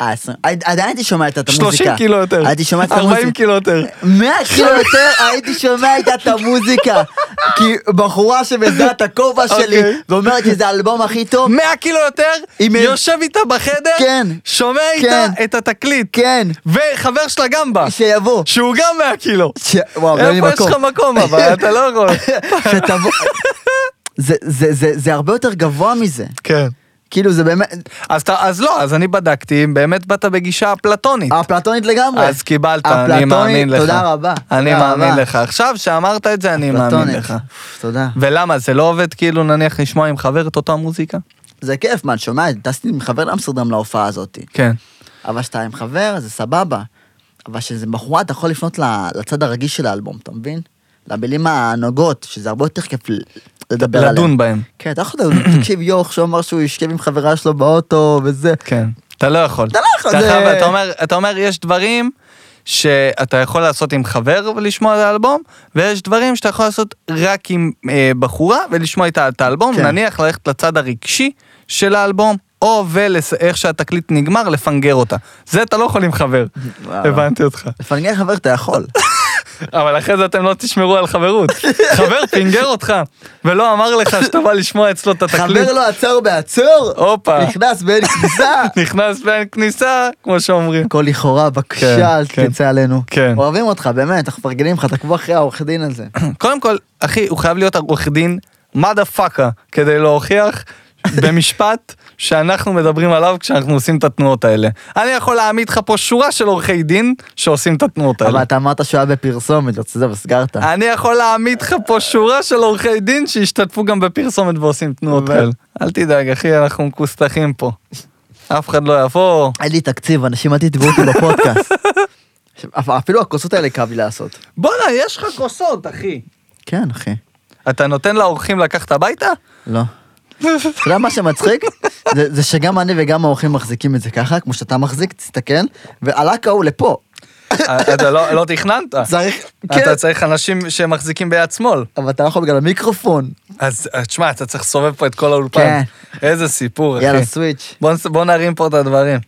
A: אה, עשרים. עד- עדיין הייתי שומע את המוזיקה.
B: 30 קילו יותר,
A: הייתי שומע את
B: 40
A: המוזיקה. אה,
B: קילו יותר.
A: 100 קילו יותר הייתי שומע איתה את המוזיקה. כי בחורה שמזהה את הכובע שלי
B: אוקיי.
A: ואומרת שזה האלבום הכי טוב,
B: 100 קילו יותר,
A: עם-
B: יושב איתה בחדר,
A: אוקיי. כן.
B: שומע
A: כן.
B: איתה את התקליט,
A: כן,
B: וחבר שלה גם בא,
A: שיבוא.
B: שהוא גם 100 קילו.
A: ש- וואו, אין לי
B: איפה יש
A: מקום.
B: לך מקום אבל, אתה לא יכול.
A: שתבוא... זה, זה, זה, זה הרבה יותר גבוה מזה.
B: כן.
A: כאילו זה באמת,
B: אז אתה- אז לא, אז אני בדקתי אם באמת באת בגישה אפלטונית.
A: אפלטונית לגמרי.
B: אז קיבלת, אני
A: אפלטונית,
B: מאמין לך.
A: תודה רבה.
B: אני
A: תודה
B: מאמין
A: רבה.
B: לך. עכשיו שאמרת את זה, אני מאמין
A: אפלטונית.
B: לך.
A: תודה.
B: ולמה, זה לא עובד כאילו נניח לשמוע עם חבר את אותה מוזיקה?
A: זה כיף, מה, את שומעת? טסתי עם חבר לאמסרדם להופעה הזאת.
B: כן.
A: אבל כשאתה עם חבר, זה סבבה. אבל כשזה בחורה, אתה יכול לפנות ל- לצד הרגיש של האלבום, אתה מבין? למילים הנוגות, שזה הרבה יותר כיף ל- לדבר עליהן.
B: לדון בהם.
A: כן, אתה יכול לדון, תקשיב, יוך, שאומר שהוא ישכב עם חברה שלו באוטו וזה.
B: כן. אתה לא יכול.
A: אתה לא יכול,
B: אתה
A: זה-
B: חייב- אתה אומר- אתה אומר, יש דברים שאתה יכול לעשות עם חבר ולשמוע את האלבום, ויש דברים שאתה יכול לעשות רק עם אה, בחורה ולשמוע איתה את האלבום,
A: כן.
B: נניח ללכת לצד הרגשי של האלבום. או ואיך שהתקליט נגמר, לפנגר אותה. זה אתה לא יכול עם חבר.
A: וואלה.
B: הבנתי אותך.
A: לפנגן חבר אתה יכול.
B: אבל אחרי זה אתם לא תשמרו על חברות. חבר פינגר אותך, ולא אמר לך שאתה בא לשמוע אצלו את התקליט.
A: חבר לא עצר בעצור,
B: הופה.
A: נכנס בין כניסה.
B: נכנס בין כניסה, כמו שאומרים.
A: הכל לכאורה,
B: כן,
A: בבקשה, אל
B: כן.
A: תצא עלינו.
B: כן.
A: אוהבים אותך, באמת, אנחנו מפרגנים לך, תעקבו אחרי העורך דין הזה.
B: קודם כל, אחי, הוא חייב להיות עורך דין מדה פאקה, כדי להוכיח במשפט שאנחנו מדברים עליו כשאנחנו עושים את התנועות האלה. אני יכול להעמיד לך פה שורה של עורכי דין שעושים את התנועות האלה.
A: אבל אתה אמרת שהוא היה בפרסומת, לא, אז זהו, סגרת.
B: אני יכול להעמיד לך פה שורה של עורכי דין שהשתתפו גם בפרסומת ועושים תנועות
A: אבל-
B: כאלה. אל תדאג, אחי, אנחנו מכוסתחים פה. אף אחד לא יבוא.
A: אין לי תקציב, אנשים אל תתבעו אותי בפודקאסט. אפ- אפילו הכוסות האלה כאב לי לעשות.
B: בואנה, יש לך כוסות, אחי.
A: כן, אחי.
B: אתה נותן לאורחים לקחת הביתה?
A: לא. אתה יודע מה שמצחיק? זה- זה שגם אני וגם האורחים מחזיקים את זה ככה, כמו שאתה מחזיק, תסתכל, והלק ההוא לפה.
B: אתה לא לא תכננת.
A: צריך, כן,
B: אתה צריך אנשים שמחזיקים ביד שמאל.
A: אבל אתה לא יכול בגלל המיקרופון.
B: אז אה, תשמע, אתה צריך לסובב פה את כל האולפן.
A: כן.
B: איזה סיפור, אחי.
A: יאללה, סוויץ'.
B: בוא נס- בוא נרים פה את הדברים.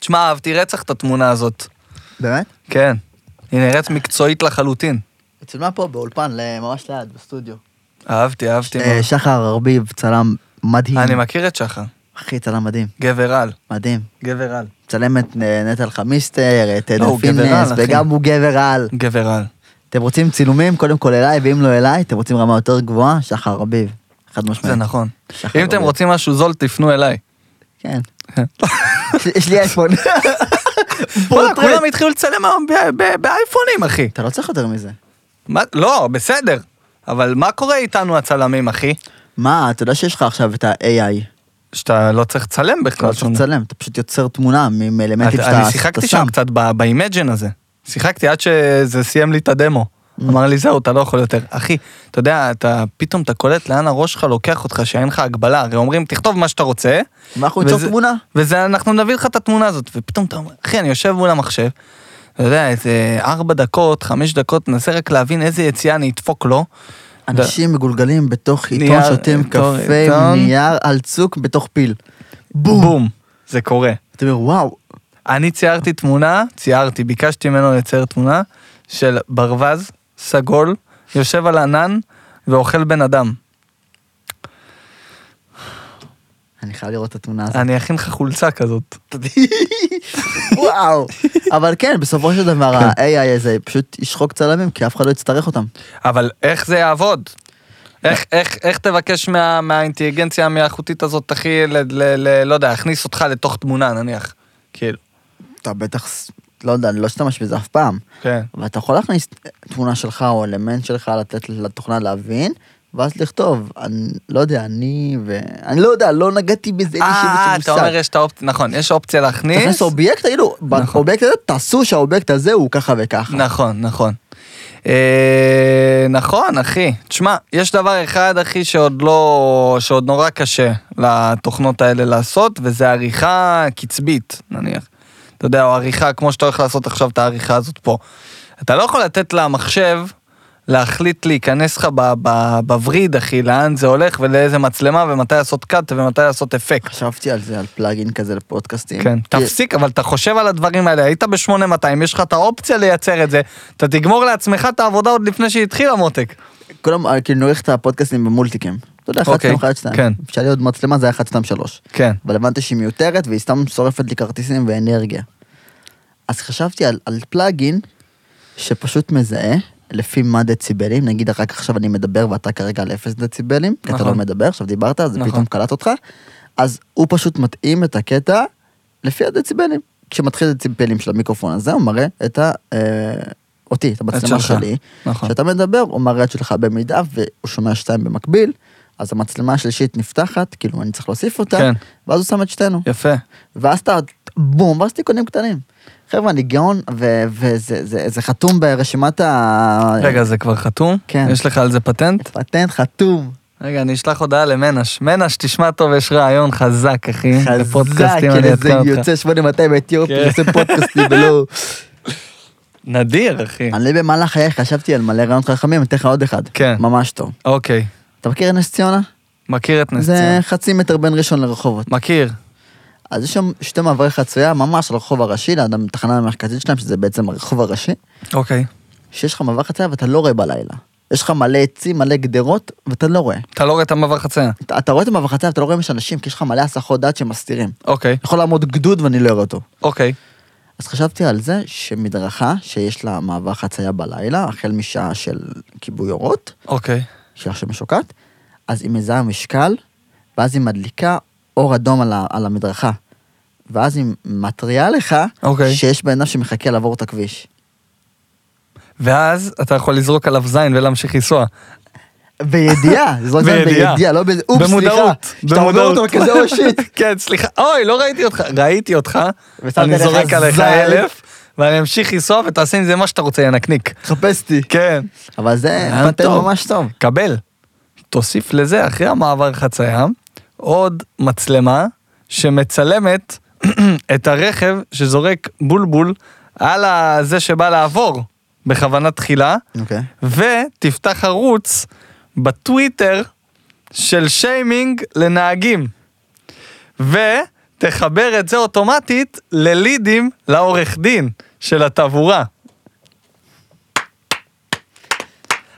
B: תשמע, אהבתי רצח את התמונה הזאת.
A: באמת?
B: כן. היא נראית מקצועית לחלוטין.
A: אצל מה פה? באולפן, ל- ממש ליד, בסטודיו.
B: אהבתי, אהבתי.
A: אה,
B: מאוד.
A: שחר ארביב, צלם מדהים.
B: אני מכיר את שחר.
A: אחי, צלם מדהים.
B: גבר על.
A: מדהים.
B: גבר על.
A: מצלם את אה, נטע אלחמיסטר, את
B: לא,
A: עדן
B: הוא גבר
A: פינס,
B: על, אחי.
A: וגם הוא גבר על.
B: גבר על.
A: אתם רוצים צילומים? קודם כל אליי, ואם לא אליי, אתם רוצים רמה יותר גבוהה? שחר ארביב. חד משמעית.
B: זה נכון.
A: אה, שחר
B: אם אתם
A: ארביב.
B: רוצים משהו זול, תפנו אליי.
A: כן. יש לי- יש לי אייפון.
B: וואלה, כולם התחילו לצלם היום ב- ב- באייפונים, אחי.
A: אתה לא צריך יותר מזה.
B: מה- לא, בסדר. אבל מה קורה איתנו הצלמים, אחי?
A: מה, אתה יודע שיש לך עכשיו את ה-AI.
B: שאתה לא צריך לצלם בכלל.
A: לא צריך
B: שום-
A: לצלם, אתה פשוט יוצר תמונה מ- מאלמנטים
B: אתה-
A: שאתה
B: אני
A: שאתה
B: שיחקתי
A: שם.
B: שם קצת ב- באימג'ן הזה. שיחקתי עד שזה סיים לי את הדמו.
A: Mm.
B: אמר לי זהו, אתה לא יכול יותר. אחי, אתה יודע, אתה פתאום אתה קולט לאן הראש שלך לוקח אותך, שאין לך הגבלה. הרי אומרים, תכתוב מה שאתה רוצה,
A: ואנחנו ניצור
B: וזה-
A: תמונה.
B: וזה, אנחנו נביא לך את התמונה הזאת. ופתאום אתה אומר, אחי, אני יושב מול המחשב, אתה יודע, איזה ארבע דקות, חמש דקות, מנסה רק להבין איזה יציאה אני אדפוק לו.
A: אנשים מגולגלים בתוך עיתון,
B: נייר,
A: שותים
B: עיתון,
A: קפה,
B: עיתון.
A: נייר על צוק בתוך פיל.
B: בום. בום. זה קורה.
A: אתה אומר, וואו,
B: אני ציירתי תמונה, ציירתי, ביקשתי ממנו לצייר תמונה של ברווז סגול, יושב על ענן ואוכל בן אדם.
A: אני חייב לראות את התמונה הזאת.
B: אני אכין לך חולצה כזאת.
A: וואו. אבל כן, בסופו של דבר ה-AI הזה פשוט ישחוק צלמים, כי אף אחד לא יצטרך אותם.
B: אבל איך זה יעבוד? איך, איך, איך תבקש מה, מהאינטליגנציה המלאכותית הזאת, אחי, ל, ל, ל, לא יודע, להכניס אותך לתוך תמונה, נניח.
A: כן.
B: כאילו.
A: אתה בטח, ס- לא יודע, אני לא אשתמש בזה אף פעם.
B: כן.
A: אבל אתה יכול להכניס תמונה שלך או אלמנט שלך, לתת לתוכנה להבין, ואז לכתוב, אני לא יודע, אני ו... אני לא יודע, לא נגעתי בזה, אין לי
B: אה,
A: שיבוש
B: אתה אומר יש את האופציה, נכון, יש אופציה
A: תכניס
B: להכניס.
A: אובייקט, תגידו, באובייקט הזה, תעשו שהאובייקט הזה הוא ככה וככה.
B: נכון, נכון. אה, נכון, אחי. תשמע, יש דבר אחד, אחי, שעוד לא... שעוד נורא קשה לתוכנות האלה לעשות, וזה עריכה קצבית, נניח. אתה יודע, או עריכה, כמו שאתה הולך לעשות עכשיו את העריכה הזאת פה. אתה לא יכול לתת למחשב להחליט להיכנס לך ב- ב- בווריד, אחי, לאן זה הולך ולאיזה מצלמה, ומתי לעשות קאט ומתי לעשות אפקט.
A: חשבתי על זה, על פלאגין כזה לפודקאסטים.
B: כן,
A: כי-
B: תפסיק, אבל אתה חושב על הדברים האלה, היית ב-8200, יש לך את האופציה לייצר את זה, אתה תגמור לעצמך את העבודה עוד לפני שהיא התחילה מותק.
A: כולם, אה, כאילו, נוריך את הפודקאסטים במולטיקים. אתה יודע, 1,
B: אוקיי,
A: 2, 1, 2.
B: כן.
A: אפשר להיות מצלמה, זה היה 1, 2, 3.
B: כן.
A: אבל הבנתי שהיא מיותרת, והיא סתם שורפת לי כרטיסים ואנרגיה. אז חשבתי על, על פלאגין שפשוט מזהה לפי מה דציבלים, נגיד רק עכשיו אני מדבר ואתה כרגע על 0 דציבלים, כי אתה
B: נכון.
A: לא מדבר, עכשיו דיברת, אז זה
B: נכון.
A: פתאום קלט אותך, אז הוא פשוט מתאים את הקטע לפי הדציבלים. כשמתחיל דציבלים של המיקרופון הזה, הוא מראה את ה... אה, אותי, את המצלמה
B: שלך.
A: שלי.
B: נכון.
A: כשאתה מדבר, הוא מראה את שלך במידה, והוא שומע שתיים במקביל, אז המצלמה השלישית נפתחת, כאילו אני צריך להוסיף אותה,
B: כן.
A: ואז הוא שם את שתינו.
B: יפה.
A: ואז אתה, בום, ואז תיקונים קטנים. חבר'ה, אני גאון, ו- וזה זה- זה חתום ברשימת ה...
B: רגע, זה כבר חתום?
A: כן.
B: יש לך על זה פטנט?
A: פטנט חתום.
B: רגע, אני אשלח הודעה למנש. מנש, תשמע טוב, יש רעיון חזק, אחי.
A: חזק,
B: לפודקאסטים,
A: כן,
B: אני
A: איזה
B: אעדכן אותך.
A: יוצא 8200
B: כן.
A: אתיופי, עושה פודקאסטים ולא...
B: נדיר, אחי.
A: אני במהלך חיי חשבתי על מלא רעיונות חכמים, אני אתן לך עוד אחד.
B: כן.
A: ממש טוב.
B: אוקיי,
A: אתה מכיר את נס ציונה?
B: מכיר את נס
A: זה
B: ציונה.
A: חצי מטר בין ראשון לרחובות.
B: מכיר.
A: אז יש שם שתי מעברי חצייה ממש על הרחוב הראשי, ליד התחנה המרכזית שלהם, שזה בעצם הרחוב הראשי,
B: אוקיי.
A: שיש לך מעבר חצייה ואתה לא רואה בלילה. יש לך מלא עצים, מלא גדרות, ואתה לא רואה.
B: אתה לא רואה את המעבר חצייה.
A: אתה, אתה רואה את המעבר חצייה ואתה לא רואה אם יש אנשים, כי יש לך מלא הסחות דעת שמסתירים.
B: אוקיי,
A: יכול לעמוד גדוד ואני לא אראה אותו.
B: אוקיי.
A: אז חשבתי על זה שמדרכה שיש לה מעבר חצייה בלילה, החל משעה של כיבוי אורות,
B: אוקיי.
A: שלה שמשוקעת, אז היא מזהה משקל, ואז היא מדליקה אור אדום על, ה, על המדרכה. ואז היא מתריעה לך
B: אוקיי.
A: שיש בן אדם שמחכה לעבור את הכביש.
B: ואז אתה יכול לזרוק עליו זין ולהמשיך לנסוע.
A: בידיעה, זאת אומרת
B: בידיעה.
A: בידיעה, לא באיזה, אופס, סליחה.
B: במודעות,
A: שאתה עובר אותו כזה "Oh, או שיט.
B: כן, סליחה. אוי, לא ראיתי אותך. ראיתי אותך,
A: ושמת
B: אני
A: עליך
B: זורק עליך
A: זין.
B: אלף, ואני אמשיך לנסוע ותעשה עם זה מה שאתה רוצה, ינקניק.
A: חפש אותי.
B: כן.
A: אבל זה
B: היה
A: פטנט
B: טוב.
A: ממש טוב.
B: קבל. תוסיף לזה, אחרי המעבר חצייה, עוד מצלמה שמצלמת את הרכב שזורק בולבול על ה- זה שבא לעבור בכוונה תחילה.
A: אוקיי.
B: ותפתח ערוץ בטוויטר של שיימינג לנהגים. ותחבר את זה אוטומטית ללידים לעורך דין של התעבורה.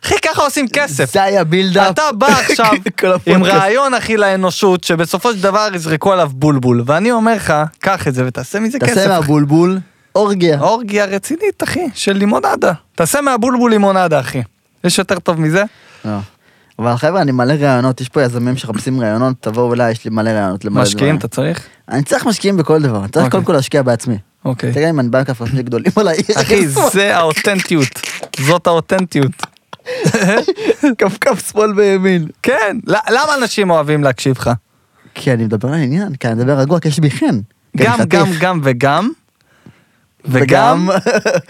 B: אחי, ככה עושים כסף.
A: זה היה בילדאפ.
B: אתה בא עכשיו
A: כל
B: עם
A: הפודקאסט.
B: רעיון, אחי, לאנושות, שבסופו של דבר יזרקו עליו בולבול. ואני אומר לך, קח את זה ותעשה מזה כסף.
A: תעשה
B: אחי.
A: מהבולבול אורגיה.
B: אורגיה רצינית, אחי, של לימונדה. תעשה מהבולבול לימונדה, אחי. יש יותר טוב מזה?
A: לא. אבל חבר'ה, אני מלא רעיונות, יש פה יזמים שמחפשים רעיונות, תבואו אליי, יש לי מלא רעיונות למלא
B: משקיעים,
A: דברים.
B: אתה צריך?
A: אני צריך משקיעים בכל דבר, אני צריך
B: אוקיי.
A: קודם כל להשקיע בעצמי.
B: אוקיי.
A: תראה אם אני בא עם כפיים שלי גדולים על העיר.
B: אחי, זה האותנטיות. זאת האותנטיות.
A: כפכף שמאל וימין.
B: כן, ל- למה אנשים אוהבים להקשיב לך?
A: כי אני מדבר על העניין, כי אני מדבר רגוע, כי יש בי חן. כי אני
B: גם, גם,
A: חתיך.
B: גם וגם, וגם,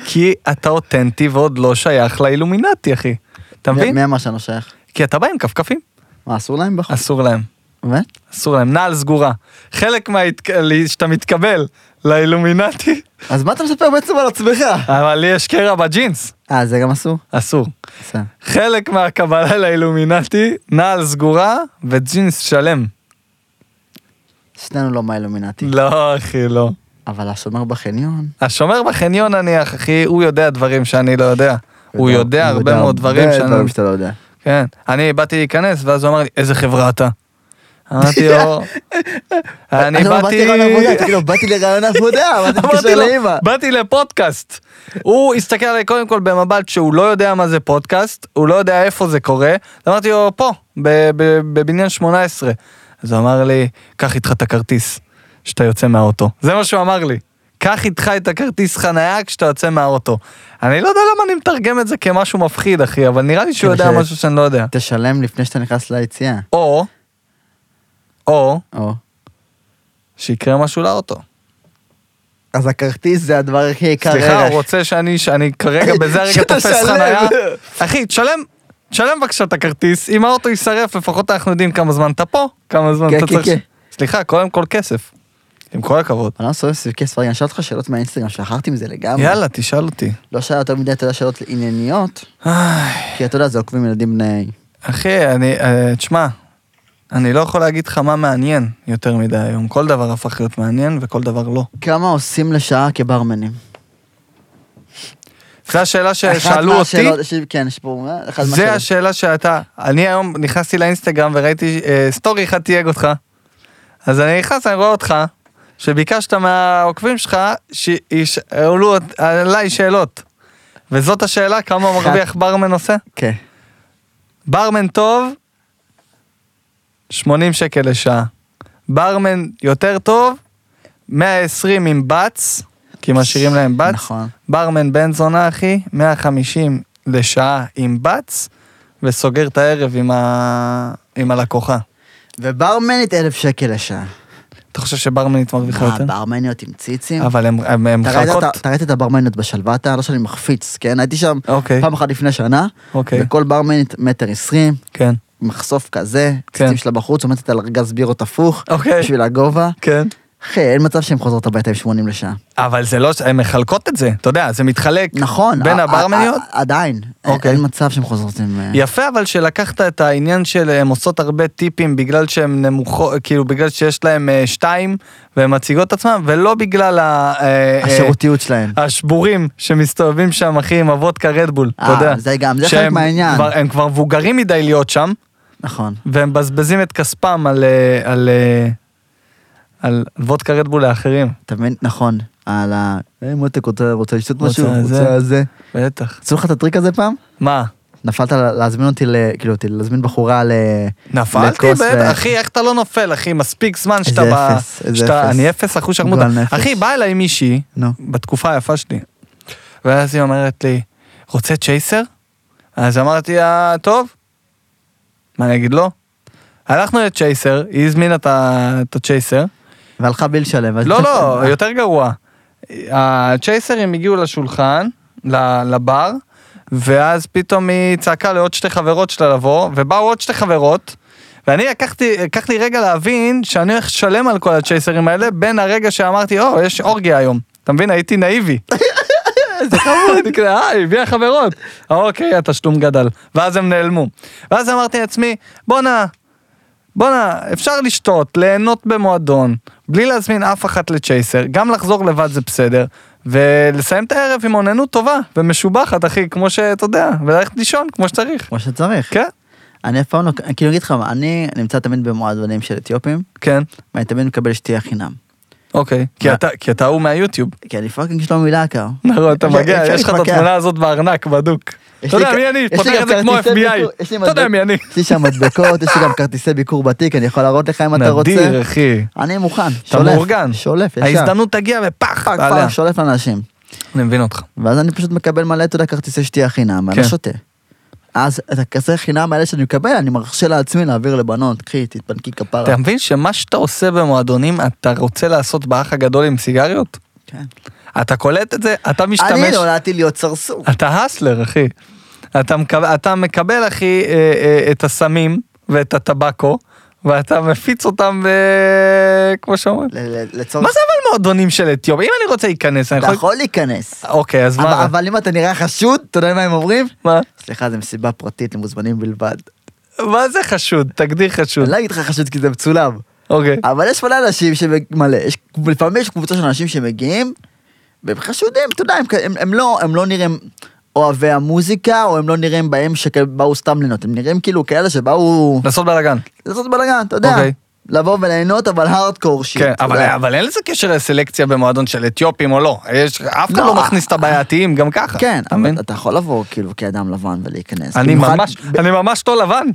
B: כי אתה אותנטי ועוד לא שייך לאילומינטי, אחי. אתה מבין?
A: מי אמר שאני לא שייך?
B: כי אתה בא עם כפכפים,
A: מה, אסור להם בחוץ?
B: אסור להם.
A: באמת?
B: אסור להם, נעל סגורה. חלק מה... שאתה מתקבל לאילומינטי,
A: אז מה אתה מספר בעצם על עצמך?
B: אבל לי יש קרע בג'ינס,
A: אה, זה גם אסור?
B: אסור.
A: בסדר.
B: חלק מהקבלה לאילומינטי, נעל סגורה וג'ינס שלם.
A: שנינו לא מהאילומינטי.
B: לא, אחי, לא.
A: אבל השומר בחניון...
B: השומר בחניון נניח, אחי, הוא יודע דברים שאני לא יודע. הוא יודע הרבה מאוד דברים
A: הרבה
B: שאני...
A: דברים שאתה לא יודע.
B: כן. אני באתי להיכנס, ואז הוא אמר לי, איזה חברה אתה? אמרתי לו, אני
A: לא,
B: באתי...
A: לרעיון עבודה, תגיד לו, באתי לרעיון עבודה, מה אתה
B: אמרתי
A: מתקשר
B: לו,
A: לאמא?
B: באתי לפודקאסט. הוא הסתכל עליי קודם כל במבט שהוא לא יודע מה זה פודקאסט, הוא לא יודע איפה זה קורה. אמרתי לו, פה, ב- ב- בבניין 18. אז הוא אמר לי, קח איתך את הכרטיס כשאתה יוצא מהאוטו. זה מה שהוא אמר לי. קח איתך את הכרטיס חנייה כשאתה יוצא מהאוטו. אני לא יודע למה אני מתרגם את זה כמשהו מפחיד, אחי, אבל נראה לי שהוא
A: כאילו
B: יודע
A: ש-
B: משהו שאני לא יודע.
A: תשלם לפני שאתה נכנס ליציאה.
B: או, או,
A: או.
B: שיקרה משהו לאוטו.
A: אז הכרטיס זה הדבר הכי יקר
B: סליחה,
A: ערך.
B: הוא רוצה שאני, שאני כרגע בזה הרגע
A: שאתה
B: תופס
A: שלם.
B: חנייה. אחי, תשלם, תשלם בבקשה את הכרטיס, אם האוטו יישרף לפחות אנחנו יודעים כמה זמן אתה פה, כמה זמן
A: כן,
B: אתה
A: כן,
B: צריך...
A: כן.
B: ש- סליחה, קודם כל כסף. עם כל הכבוד.
A: אני לא מסובב סביב כסף, רגע, אני אשאל אותך שאלות מהאינסטגרם, שכחתי מזה לגמרי.
B: יאללה, תשאל אותי.
A: לא שאלה יותר מדי, אתה יודע, שאלות ענייניות,
B: איי,
A: כי אתה יודע, זה עוקבים ילדים בני...
B: אחי, אני, אה, תשמע, אני לא יכול להגיד לך מה מעניין יותר מדי היום. כל דבר הפך להיות מעניין וכל דבר לא.
A: כמה עושים לשעה כברמנים?
B: זו השאלה
A: אחת
B: ששאלו אותי.
A: מהשאלות- ש- כן, יש פה... אחת
B: זה
A: מהשאלות.
B: השאלה שהייתה. אני היום נכנסתי לאינסטגרם וראיתי אה, סטורי אחד תייג אותך. אז אני נכנס, אני רואה אותך, שביקשת מהעוקבים שלך שישאלו אות- עליי שאלות. וזאת השאלה, כמה
A: אחת.
B: מרוויח ברמן עושה?
A: כן.
B: ברמן טוב, 80 שקל לשעה. ברמן יותר טוב, 120 עם בץ, כי משאירים להם בץ.
A: נכון.
B: ברמן בן זונה אחי, 150 לשעה עם בץ, וסוגר את הערב עם, ה... עם הלקוחה.
A: וברמנית אלף שקל לשעה.
B: אתה חושב שברמנית מרוויחה
A: מה,
B: יותר?
A: ברמניות עם ציצים?
B: אבל הם- הם הם
A: אתה ראית
B: מחלקות...
A: את- אתה ראית את הברמניות בשלוותה? לא שאני מחפיץ, כן? הייתי שם
B: אוקיי,
A: פעם אחת לפני שנה,
B: אוקיי,
A: וכל ברמנית מטר עשרים,
B: כן.
A: מחשוף כזה,
B: כן.
A: ציצים שלה בחוץ, עומדת על ארגז בירות הפוך,
B: אוקיי,
A: בשביל הגובה.
B: כן.
A: אחי, אין מצב שהן חוזרות הביתה עם 80 לשעה.
B: אבל זה לא... הן מחלקות את זה, אתה יודע, זה מתחלק
A: נכון.
B: בין
A: ה- ה-
B: הברמניות.
A: ה- עדיין. אין-
B: אוקיי.
A: אין מצב שהן חוזרות עם... אה,
B: יפה אבל שלקחת את העניין של הם עושות הרבה טיפים בגלל שהן נמוכות, כאילו בגלל שיש להם אה, שתיים והן מציגות את עצמן ולא בגלל ה- אה, אה,
A: השירותיות שלהן.
B: השבורים שמסתובבים שם אחי עם הוודקה רדבול, אתה
A: אה,
B: יודע.
A: זה גם, זה חלק
B: שהם
A: מהעניין.
B: כבר- הם כבר מבוגרים מדי להיות שם
A: נכון.
B: והם מבזבזים את כספם על, אה, על, אה, על וודקה רדבול לאחרים.
A: אתה מבין? נכון. על ה... אה, מותק רוצה רוצה לשתות
B: רוצה
A: משהו?
B: זה.
A: רוצה זה.
B: בטח.
A: עשו לך את הטריק הזה פעם?
B: מה?
A: נפלת לה- להזמין אותי ל... כאילו אותי, להזמין בחורה ל...
B: נפלתי
A: לכוס,
B: בטח,
A: אה,
B: אחי, איך אתה לא נופל, אחי? מספיק זמן
A: איזה
B: שאתה ב...
A: אפס, איזה
B: שאתה-
A: אפס.
B: אני אפס, אחוז שרמוטה.
A: גועל נפש.
B: אחי, באה אליי מישהי,
A: נו.
B: בתקופה היפה שלי, ואז היא אומרת לי, רוצה צ'ייסר? אז אמרתי לה, טוב. מה, אני אגיד לא? הלכנו לצ'ייסר, היא הזמינה את ה- את הצ'ייסר.
A: והלכה בלי לשלם. ואז-
B: לא, לא, יותר גרוע. הצ'ייסרים הגיעו לשולחן, ל- לבר, ואז פתאום היא צעקה לעוד שתי חברות שלה לבוא, ובאו עוד שתי חברות, ואני לקחתי, לקח לי רגע להבין שאני הולך לשלם על כל הצ'ייסרים האלה, בין הרגע שאמרתי, או, יש אורגיה היום. אתה מבין, הייתי נאיבי. איזה חמוד. אה, היא הביאה חברות. אוקיי, התשלום גדל. ואז הם נעלמו. ואז אמרתי לעצמי, בואנה, בואנה, אפשר לשתות, ליהנות במועדון, בלי להזמין אף אחת לצ'ייסר, גם לחזור לבד זה בסדר, ולסיים את הערב עם אוננות טובה ומשובחת, אחי, כמו שאתה יודע, וללכת לישון כמו שצריך.
A: כמו שצריך.
B: כן,
A: אני אף פעם לא, כאילו אני אגיד לך מה, אני נמצא תמיד במועדונים של אתיופים,
B: כן,
A: ואני תמיד מקבל שתייה חינם.
B: אוקיי. כי
A: מה?
B: אתה, כי אתה ההוא מהיוטיוב.
A: כי אני פאקינג שלומי לקר.
B: נכון, אתה
A: אפשר-
B: מגיע,
A: אפשר
B: יש לך את
A: להתווכח.
B: התמונה הזאת בארנק, בדוק.
A: יש
B: אתה
A: לי
B: יודע
A: כ-
B: מי אני,
A: יש לי
B: פותח
A: גם
B: את זה כמו
A: כרטיסי
B: FBI.
A: ביקור- יש לי
B: אתה יודע
A: מדבק-
B: מי אני.
A: יש לי שם מדבקות, יש לי גם כרטיסי ביקור בתיק, אני יכול להראות לך אם אתה רוצה.
B: נדיר, אחי.
A: אני מוכן,
B: אתה
A: שולף,
B: מאורגן.
A: שולף, ישר.
B: ההזדמנות תגיע ופח,
A: פאק,
B: עליה.
A: פאק, שולף לאנשים.
B: אני מבין אותך.
A: ואז אני פשוט מקבל מלא, אתה יודע, כרטיסי שתייה חינם, ואני
B: כן.
A: שותה. אז את הכסף חינם האלה שאני מקבל, אני מרשה לעצמי להעביר לבנות, קחי, תתפנקי כפרה.
B: אתה מבין שמה שאתה עושה במועדונים, אתה רוצה לעשות באח הגדול עם סיגריות?
A: כן.
B: אתה קולט את זה, אתה משתמש... אה,
A: אני לא- נולדתי להיות סרסור.
B: אתה הסלר, אחי. אתה מקבל, אתה מקבל אחי, אה, אה, את הסמים ואת הטבקו, ואתה מפיץ אותם, אה, כמו שאומרים.
A: ל- ל- לצורך...
B: מה זה אבל מועדונים של אתיופים? אם אני רוצה להיכנס, אני
A: אתה
B: יכול...
A: יכול להיכנס.
B: אוקיי, אז
A: נכון. אבל
B: מה?
A: אבל אם אתה נראה חשוד, אתה יודע מה הם אומרים?
B: מה?
A: סליחה, זו מסיבה פרטית למוזמנים בלבד.
B: מה זה חשוד? תגדיר חשוד.
A: אני לא אגיד לך חשוד כי זה מצולם.
B: אוקיי.
A: אבל יש מלא אנשים שמלא, יש, לפעמים יש קבוצה של אנשים שמגיעים, והם חשודים, אתה יודע, הם, כ- הם, הם, לא, הם לא נראים אוהבי המוזיקה, או הם לא נראים בהם שבאו סתם ליהנות, הם נראים כאילו כאלה שבאו
B: לעשות בלאגן.
A: לעשות בלאגן, אתה יודע,
B: אוקיי. לבוא
A: וליהנות אבל הארדקור שיט.
B: כן,
A: אתה
B: אבל,
A: יודע.
B: אבל אין לזה קשר לסלקציה במועדון של אתיופים או לא. יש, אף אחד
A: לא,
B: לא מכניס את
A: אה,
B: הבעייתיים גם ככה.
A: כן,
B: אתה מבין?
A: אבל אתה יכול לבוא כאילו כאדם לבן ולהיכנס.
B: אני
A: במיוחד-
B: ממש, אני ממש לא לבן.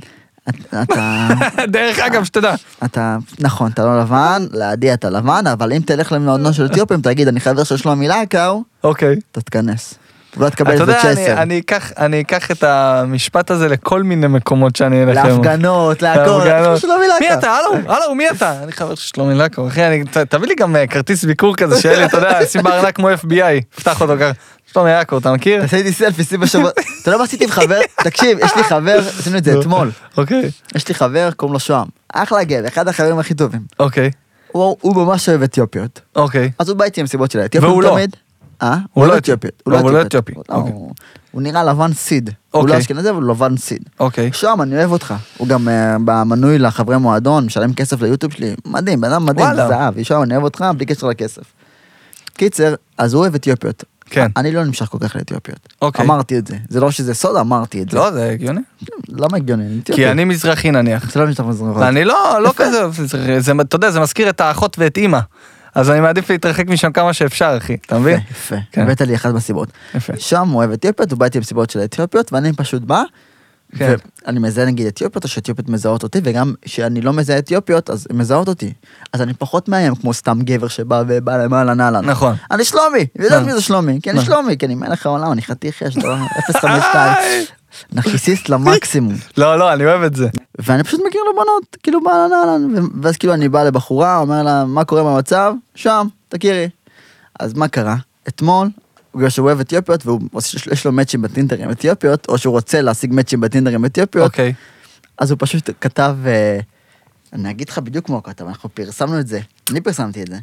A: את- אתה,
B: דרך אגב, שתדע.
A: אתה, נכון, אתה לא לבן, לעדי אתה לבן, אבל אם תלך למועדון של אתיופים, תגיד, אני חבר של שלומי לקאו,
B: אוקיי.
A: אתה תיכנס. ואולי תקבל
B: אתה
A: איזה
B: יודע, אני-
A: צ'סר.
B: אני אקח- אני אקח את המשפט הזה לכל מיני מקומות שאני אלך. אליהם.
A: להפגנות, להכל. לא
B: להפגנות.
A: אני חושב שלא מילה
B: מי
A: כאן.
B: אתה? הלו, הלו, מי אתה? אני חבר של שלומי לקו, אחי, אני- ת- תביא לי גם אה, כרטיס ביקור כזה, שיהיה לי, אתה יודע, שים בארנק כמו FBI, פתח אותו ככה. שלומי לקו, אתה מכיר?
A: תעשה איתי סלפי, שים בשבוע. אתה יודע מה עשיתי עם חבר? תקשיב, יש לי חבר, עשינו את זה אתמול.
B: אוקיי,
A: יש לי חבר, קוראים לו שוהם. אחלה גבר, אחד החברים הכי טובים.
B: אוקיי,
A: הוא הוא ממש אוהב אתיופיות.
B: אוקיי.
A: אז הוא בא איתי עם סיבות של האתיופים
B: והוא לא.
A: תמיד. אה?
B: הוא לא
A: אתיופיות.
B: לא, הוא לא אתיופי,
A: לא,
B: אוקיי.
A: הוא- הוא נראה לבן סיד. הוא
B: אוקיי.
A: לא אשכנזי, אבל הוא לבן סיד.
B: אוקיי.
A: שוהם, אני אוהב אותך. הוא גם אה, במנוי לחברי מועדון, משלם כסף ליוטיוב שלי. מדהים, בן אדם מדהים,
B: וואלה.
A: זהב. שוהם, אני אוהב אותך בלי קשר לכסף. קיצר, אז הוא אוהב אתיופיות.
B: כן.
A: אני לא נמשך כל כך לאתיופיות.
B: אוקיי.
A: אמרתי את זה. זה לא שזה סוד, אמרתי את זה.
B: לא, זה הגיוני.
A: למה הגיוני? אני אתיופי.
B: כי אני מזרחי נניח.
A: אתה לא נמשך מזרחות.
B: אני לא, לא כזה, זה- זה- אתה יודע, זה מזכיר את האחות ואת אימא. אז אני מעדיף להתרחק משם כמה שאפשר, אחי, אתה מבין?
A: יפה, יפה.
B: כן.
A: הבאת לי אחת מהסיבות.
B: יפה.
A: שם הוא אוהב אתיופיות, הוא בא איתי עם סיבות של אתיופיות, ואני פשוט בא,
B: כן.
A: ואני מזהה נגיד אתיופיות, או שאתיופיות מזהות אותי, וגם כשאני לא מזהה אתיופיות, אז הן מזהות אותי. אז אני פחות מאיים כמו סתם גבר שבא ובא אליי מאהלן אהלן.
B: נכון.
A: אני שלומי, אני יודעת
B: נכון.
A: מי זה שלומי, כי אני שלומי, כי אני מלך העולם, אני חתיך יש, לא, 052. נרקיסיסט למקסימום.
B: לא, לא, אני אוהב את זה.
A: ואני פשוט מכיר לו בנות, כאילו באהלן אהלן, ו- ואז כאילו אני בא לבחורה, אומר לה, מה קורה במצב? שם, תכירי. אז מה קרה? אתמול, בגלל שהוא אוהב אתיופיות, והוא- יש לו- יש לו מאצ'ים בטינדר עם אתיופיות, או שהוא רוצה להשיג מאצ'ים בטינדר עם אתיופיות,
B: אוקיי.
A: אז הוא פשוט כתב, אה, אני אגיד לך בדיוק מה הוא כתב, אנחנו פרסמנו את זה, אני פרסמתי את זה.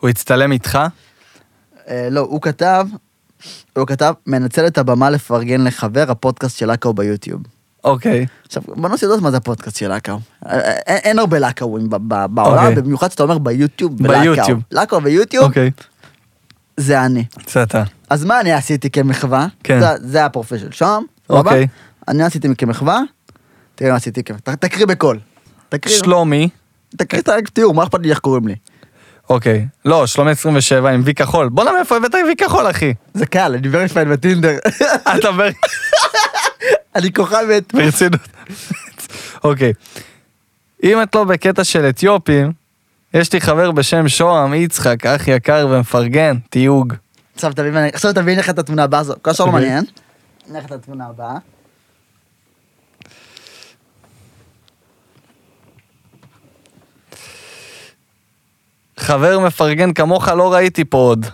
B: הוא הצטלם איתך?
A: אה, לא, הוא כתב, הוא כתב, מנצל את הבמה לפרגן לחבר, הפודקאסט של לקאו ביוטיוב.
B: אוקיי.
A: עכשיו, בנות יודעות מה זה הפודקאסט של לקאו. אה, אה, אין, אין הרבה לקאוים ב- ב- בעולם,
B: אוקיי.
A: במיוחד שאתה אומר ביוטיוב ולקאו.
B: ביוטיוב.
A: לקאו ויוטיוב,
B: אוקיי.
A: זה אני.
B: זה אתה.
A: אז מה אני עשיתי כמחווה?
B: כן.
A: זה, זה הפרופיל של שם, סבבה?
B: אוקיי.
A: אני עשיתי כמחווה, תראה מה עשיתי כמחווה. ת- תקריא בקול. תקריא,
B: שלומי.
A: תקריא את התיאור, מה אכפת לי איך קוראים לי?
B: אוקיי. לא, שלומי 27 עם וי כחול. בואנה מאיפה הבאת וי כחול, אחי?
A: זה קל, אני וריפיין בטינדר.
B: אתה בר...
A: אני כוכבת.
B: ברצינות. אוקיי. אם את לא בקטע של אתיופים, יש לי חבר בשם שוהם יצחק, אח יקר ומפרגן, תיוג.
A: עכשיו תבין, עכשיו תבין לך את התמונה הבאה, זו- כל השאר לא
B: אוקיי.
A: מעניין. הנה לך את התמונה הבאה.
B: חבר מפרגן כמוך לא ראיתי פה עוד.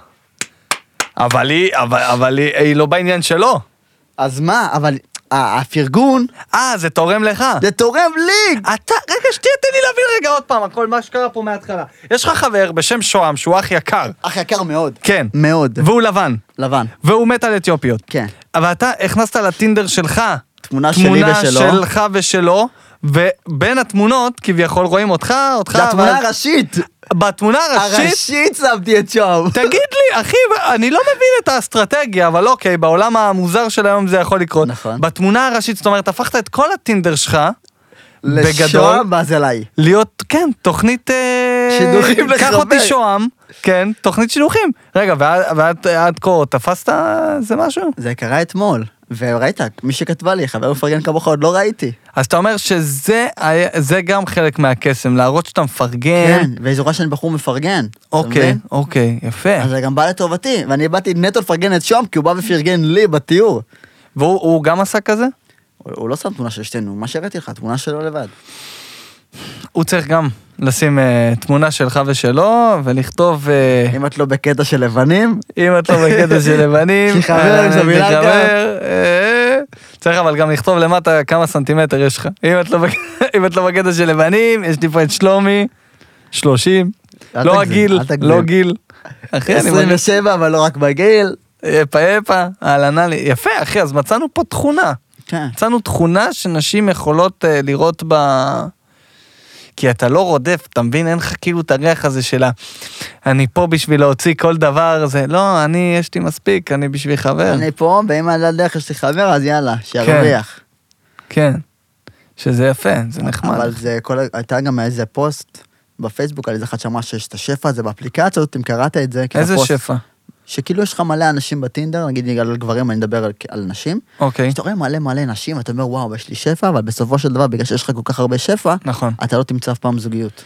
B: אבל היא, אבל, אבל היא, היא לא בעניין שלו.
A: אז מה, אבל אה, הפרגון,
B: אה, זה תורם לך.
A: זה תורם לי!
B: אתה, רגע, שתהיה, תן לי להבין רגע עוד פעם, הכל, מה שקרה פה מההתחלה. יש לך חבר בשם שוהם שהוא אח יקר,
A: אח יקר מאוד.
B: כן.
A: מאוד.
B: והוא לבן,
A: לבן.
B: והוא מת על אתיופיות.
A: כן.
B: אבל אתה הכנסת לטינדר שלך,
A: תמונה שלי ושלו.
B: תמונה שלך ושלו, ובין התמונות כביכול רואים אותך, אותך,
A: זה התמונה
B: אבל-
A: הראשית.
B: בתמונה הראשית,
A: הראשית שמתי את שם.
B: תגיד לי, אחי, אני לא מבין את האסטרטגיה, אבל אוקיי, בעולם המוזר של היום זה יכול לקרות.
A: נכון.
B: בתמונה הראשית, זאת אומרת, הפכת את כל הטינדר שלך, בגדול,
A: לשוהם באזלי.
B: להיות, כן, תוכנית... אה,
A: שידוכים
B: קח
A: לחבר.
B: אותי שוהם, כן, תוכנית שידוכים. רגע, ועד- ועד עד כה תפסת איזה משהו?
A: זה קרה אתמול. וראית, מי שכתבה לי, חבר מפרגן כמוך עוד לא ראיתי.
B: אז אתה אומר שזה היה- זה גם חלק מהקסם, להראות שאתה מפרגן.
A: כן, והיא זוכרת שאני בחור מפרגן. אתה
B: אה. אוקיי,
A: מבין?
B: אוקיי, יפה.
A: אז זה גם בא לטובתי, ואני באתי נטו לפרגן את שוהם, כי הוא בא ופרגן לי בתיאור.
B: והוא הוא גם עשה כזה?
A: הוא- הוא לא שם תמונה של שתינו, מה שהראיתי לך, תמונה שלו לבד.
B: אה. הוא צריך גם לשים אה, תמונה שלך ושלו, ולכתוב, אה,
A: אם את לא בקטע של לבנים,
B: אם את לא בקטע של לבנים,
A: שחבר
B: אה,
A: עם סבילנקה.
B: תחבר, אה, צריך אבל גם לכתוב למטה כמה סנטימטר יש לך. אם את לא בק- אם את לא בקטע של לבנים, יש לי פה את שלומי, 30.
A: אל
B: לא
A: תגזים,
B: הגיל,
A: אל תגזים.
B: לא גיל. אחי, אני מרגיש...
A: 27, אבל לא רק בגיל.
B: יפה, יפה, אהלן, אהלן. יפה, אחי, אז מצאנו פה תכונה.
A: כן.
B: מצאנו תכונה שנשים יכולות אה, לראות בה... כי אתה לא רודף, אתה מבין? אין לך כאילו את הריח הזה של ה... אני פה בשביל להוציא כל דבר, זה לא, אני, יש לי מספיק, אני בשביל חבר.
A: אני פה, ואם על הדרך יש לי חבר, אז יאללה, שירוויח.
B: כן. שזה יפה, זה נחמד.
A: אבל זה כל, ה- הייתה גם איזה פוסט בפייסבוק על איזה אחת שאמרה שיש את השפע הזה באפליקציות, אם קראת את זה. כאילו
B: איזה
A: הפוסט-
B: שפע.
A: שכאילו יש לך מלא אנשים בטינדר, נגיד נגיד על גברים, אני מדבר על, על נשים.
B: אוקיי,
A: כשאתה רואה מלא מלא נשים, אתה אומר, וואו, יש לי שפע, אבל בסופו של דבר, בגלל שיש לך כל כך הרבה שפע,
B: נכון,
A: אתה לא תמצא אף פעם זוגיות.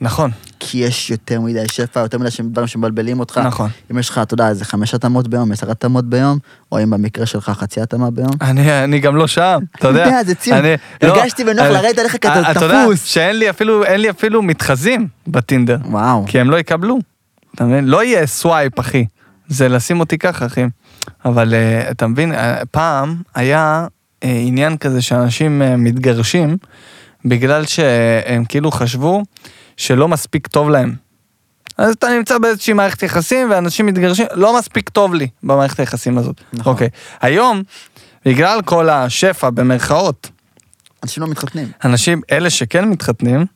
B: נכון,
A: כי יש יותר מדי שפע, יותר מדי שהם- דברים שמבלבלים אותך.
B: נכון.
A: אם יש לך, אתה יודע, איזה חמש התאמות ביום, עשר התאמות ביום, או אם במקרה שלך חצי התאמה ביום.
B: אני, אני גם לא שם, אתה יודע.
A: אני יודע, זה ציון.
B: אני-
A: הרגשתי בנוח
B: אני-
A: לרדת עליך כי אתה
B: אתה יודע
A: תפוס.
B: שאין לי אפילו, אין לי אפילו מתחזים בטינדר.
A: וואו.
B: כי הם לא יקבלו. אתה מבין? לא יהיה סווייפ, אחי. זה לשים אותי ככה, אחי. אבל אה, אתה מבין, אה, פעם היה אה, עניין כזה שאנשים אה, מתגרשים בגלל שהם כאילו חשבו שלא מספיק טוב להם. אז אתה נמצא באיזושהי מערכת יחסים ואנשים מתגרשים, לא מספיק טוב לי במערכת היחסים הזאת.
A: נכון.
B: אוקיי. היום, בגלל כל השפע במרכאות,
A: אנשים לא מתחתנים.
B: אנשים, אלה שכן מתחתנים,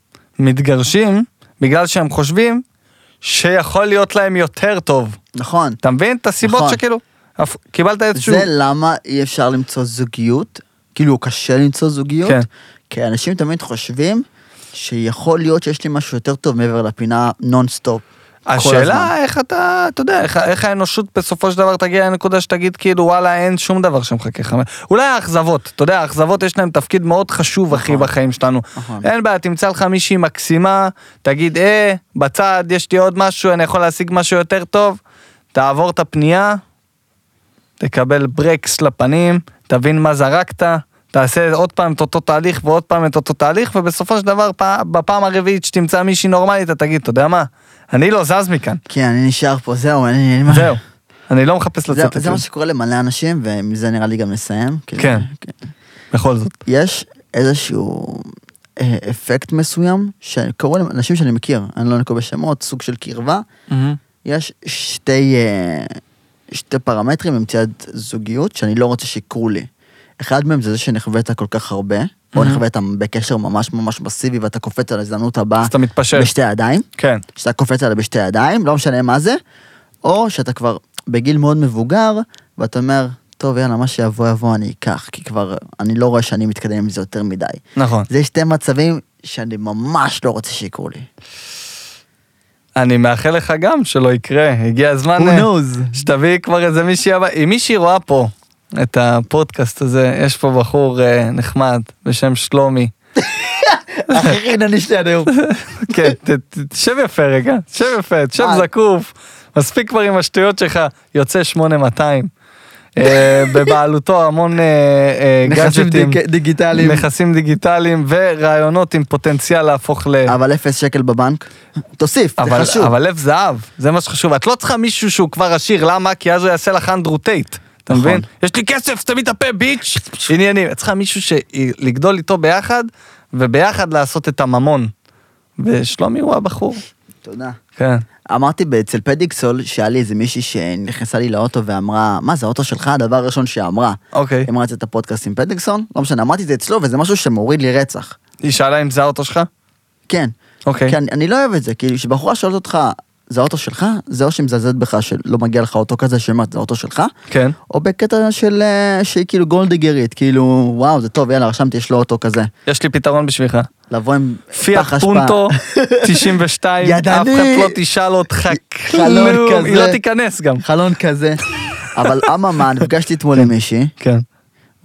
B: מתגרשים בגלל שהם חושבים שיכול להיות להם יותר טוב.
A: נכון.
B: אתה מבין את הסיבות
A: נכון.
B: שכאילו, אף- קיבלת איזשהו...
A: זה למה אי אפשר למצוא זוגיות, כאילו קשה למצוא זוגיות,
B: כן.
A: כי אנשים תמיד חושבים שיכול להיות שיש לי משהו יותר טוב מעבר לפינה נונסטופ. כל הזמן.
B: השאלה איך אתה, אתה יודע, איך, איך האנושות בסופו של דבר תגיע לנקודה שתגיד כאילו וואלה אין שום דבר שמחכה לך. אולי האכזבות, אתה יודע, האכזבות יש להם תפקיד מאוד חשוב אחי
A: נכון.
B: בחיים שלנו.
A: נכון.
B: אין בעיה, תמצא לך מישהי מקסימה, תגיד אה, בצד יש לי עוד משהו, אני יכול להשיג משהו יותר טוב, תעבור את הפנייה, תקבל ברקס לפנים, תבין מה זרקת. תעשה עוד פעם את אותו תהליך ועוד פעם את אותו תהליך ובסופו של דבר פע- בפעם הרביעית שתמצא מישהי נורמלית אתה תגיד אתה יודע מה אני לא זז מכאן
A: כן, אני נשאר פה, זהו, אין לי- אין לי מה...
B: זהו. אני לא מחפש
A: זה-
B: לצאת את
A: זה
B: זה.
A: מה שקורה למלא אנשים, ומזה נראה לי גם נסיים. כי-
B: כן. בכל זאת.
A: יש איזשהו אה, אפקט מסוים, שקראו להם אנשים שאני מכיר, אני לא נקוב בשמות, סוג של קרבה. יש שתי, אה, שתי פרמטרים למציאת זוגיות שאני לא רוצה שיקרו לי. אחד מהם זה זה שנחווית כל כך הרבה, או
B: Mhm.
A: נחווית בקשר ממש ממש מסיבי ואתה קופץ על ההזדמנות הבאה
B: אז אתה מתפשר.
A: בשתי ידיים,
B: כן.
A: שאתה קופץ עליה בשתי ידיים, לא משנה מה זה, או שאתה כבר בגיל מאוד מבוגר, ואתה אומר, טוב יאללה, מה שיבוא יבוא אני אקח, כי כבר אני לא רואה שאני מתקדם עם זה יותר מדי.
B: נכון.
A: זה שתי מצבים שאני ממש לא רוצה שיקרו לי.
B: אני מאחל לך גם שלא יקרה. הגיע הזמן אה,
A: knows?
B: שתביא כבר איזה מישהי הבאה. אם מישהי רואה פה את הפודקאסט הזה, יש פה בחור אה, נחמד בשם שלומי.
A: הכי חינני שלי עד היום.
B: כן, ת- ת- תשב יפה רגע. תשב יפה, תשב
A: אה.
B: זקוף. מספיק כבר עם השטויות שלך. יוצא 8200. אה, בבעלותו המון אה, אה,
A: נכסים
B: גאדג'טים.
A: דיק- דיגיטליים.
B: נכסים דיגיטליים ורעיונות עם פוטנציאל להפוך ל...
A: אבל אפס שקל בבנק, תוסיף, זה
B: אבל,
A: חשוב.
B: אבל לב זהב, זה מה שחשוב. את לא צריכה מישהו שהוא כבר עשיר, למה? כי אז הוא יעשה לך אנדרו טייט. אתה
A: נכון.
B: מבין? יש לי כסף, סתמי את הפה, ביץ'. עניינים. את צריכה מישהו שלגדול איתו ביחד, וביחד לעשות את הממון. ושלומי הוא הבחור.
A: תודה.
B: כן.
A: אמרתי אצל פדיקסול שהיה לי איזה מישהי שנכנסה לי לאוטו ואמרה, מה זה האוטו שלך? הדבר הראשון שאמרה.
B: אוקיי.
A: אם רצת את הפודקאסט עם פדיקסון, לא משנה, אמרתי את זה אצלו וזה משהו שמוריד לי רצח.
B: היא שאלה אם זה האוטו שלך?
A: כן.
B: אוקיי.
A: כי אני, אני לא אוהב את זה, כאילו כשבחורה שואלת אותך, זה האוטו שלך? זה או שהיא מזלזלת בך שלא מגיע לך אוטו כזה, שהיא אומרת, זה האוטו שלך?
B: כן.
A: או בקטע של, אה, שהיא כאילו גולדיגרית, כאילו, וואו, זה טוב, יאללה, רשמתי, יש לו אוטו כזה.
B: יש לי פתרון בשבילך.
A: לבוא עם
B: פיאט
A: פח אשפה.
B: פונטו 92, אף אחד
A: ידני.
B: לא תשאל אותך
A: חלון
B: כלום, היא
A: כזה.
B: לא תיכנס גם.
A: חלון כזה. אבל אממה, נפגשתי אתמול עם מישהי,
B: כן.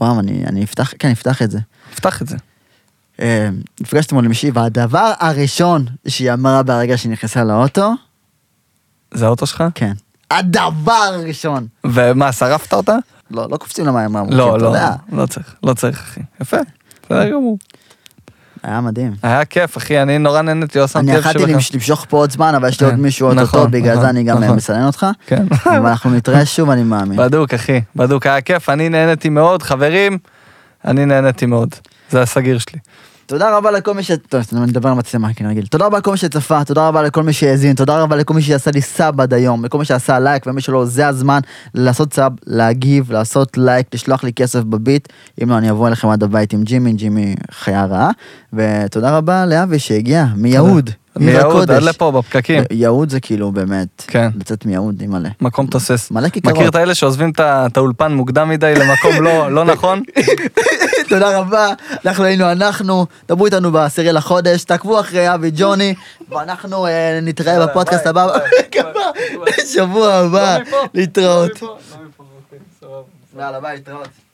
A: וואו, אני, אני אפתח, כן, אני אפתח את זה.
B: נפתח את זה.
A: אה, נפגשתי אתמול עם מישהי, והדבר הראשון שהיא אמרה ברגע שהיא נכנסה לאוטו,
B: זה האוטו שלך?
A: כן. הדבר הראשון.
B: ומה, שרפת אותה?
A: לא, לא קופצים למים העמוקים,
B: לא,
A: אתה
B: לא,
A: יודע.
B: לא צריך, לא צריך, אחי. יפה, בסדר גמור.
A: היה מדהים.
B: היה כיף, אחי, אני נורא נהניתי, לא שמתי
A: אני
B: לב
A: יכלתי
B: שבכלל.
A: למש- למשוך פה עוד זמן, אבל יש לי עוד
B: כן,
A: מישהו עוד
B: נכון,
A: אותו, בגלל
B: נכון,
A: זה אני גם אה,
B: נכון.
A: מסנן אותך.
B: כן.
A: אבל אנחנו נתראה שוב, אני מאמין.
B: בדוק, אחי, בדוק, היה כיף, אני נהניתי מאוד, חברים, אני נהניתי מאוד. זה הסגיר שלי.
A: תודה רבה לכל מי ש... טוב, אני מדבר על מצלמה כרגיל. תודה רבה לכל מי שצפה, תודה רבה לכל מי שהאזין, תודה רבה לכל מי שעשה לי סאב עד היום, לכל מי שעשה לייק, ומי שלא, זה הזמן לעשות סאב, להגיב, לעשות לייק, לשלוח לי כסף בביט. אם לא, אני אבוא אליכם עד הבית עם ג'ימי, ג'ימי חיה רעה. ותודה רבה לאבי שהגיע, מיהוד. עיר
B: מיהוד, עד
A: הקודש.
B: לפה, בפקקים.
A: יהוד זה כאילו באמת,
B: כן.
A: לצאת מיהוד, אימא'לה.
B: מקום תוסס.
A: מלא כיכרות.
B: מכיר את האלה שעוזבים את ה- את האולפן מוקדם מדי למקום לא לא נכון?
A: תודה רבה, אנחנו היינו אנחנו, דברו איתנו בעשירי לחודש, תעקבו אחרי אבי ג'וני, ואנחנו אה, נתראה בפודקאסט הבא,
B: לא
A: שבוע הבא, להתראות. יאללה ביי, להתראות.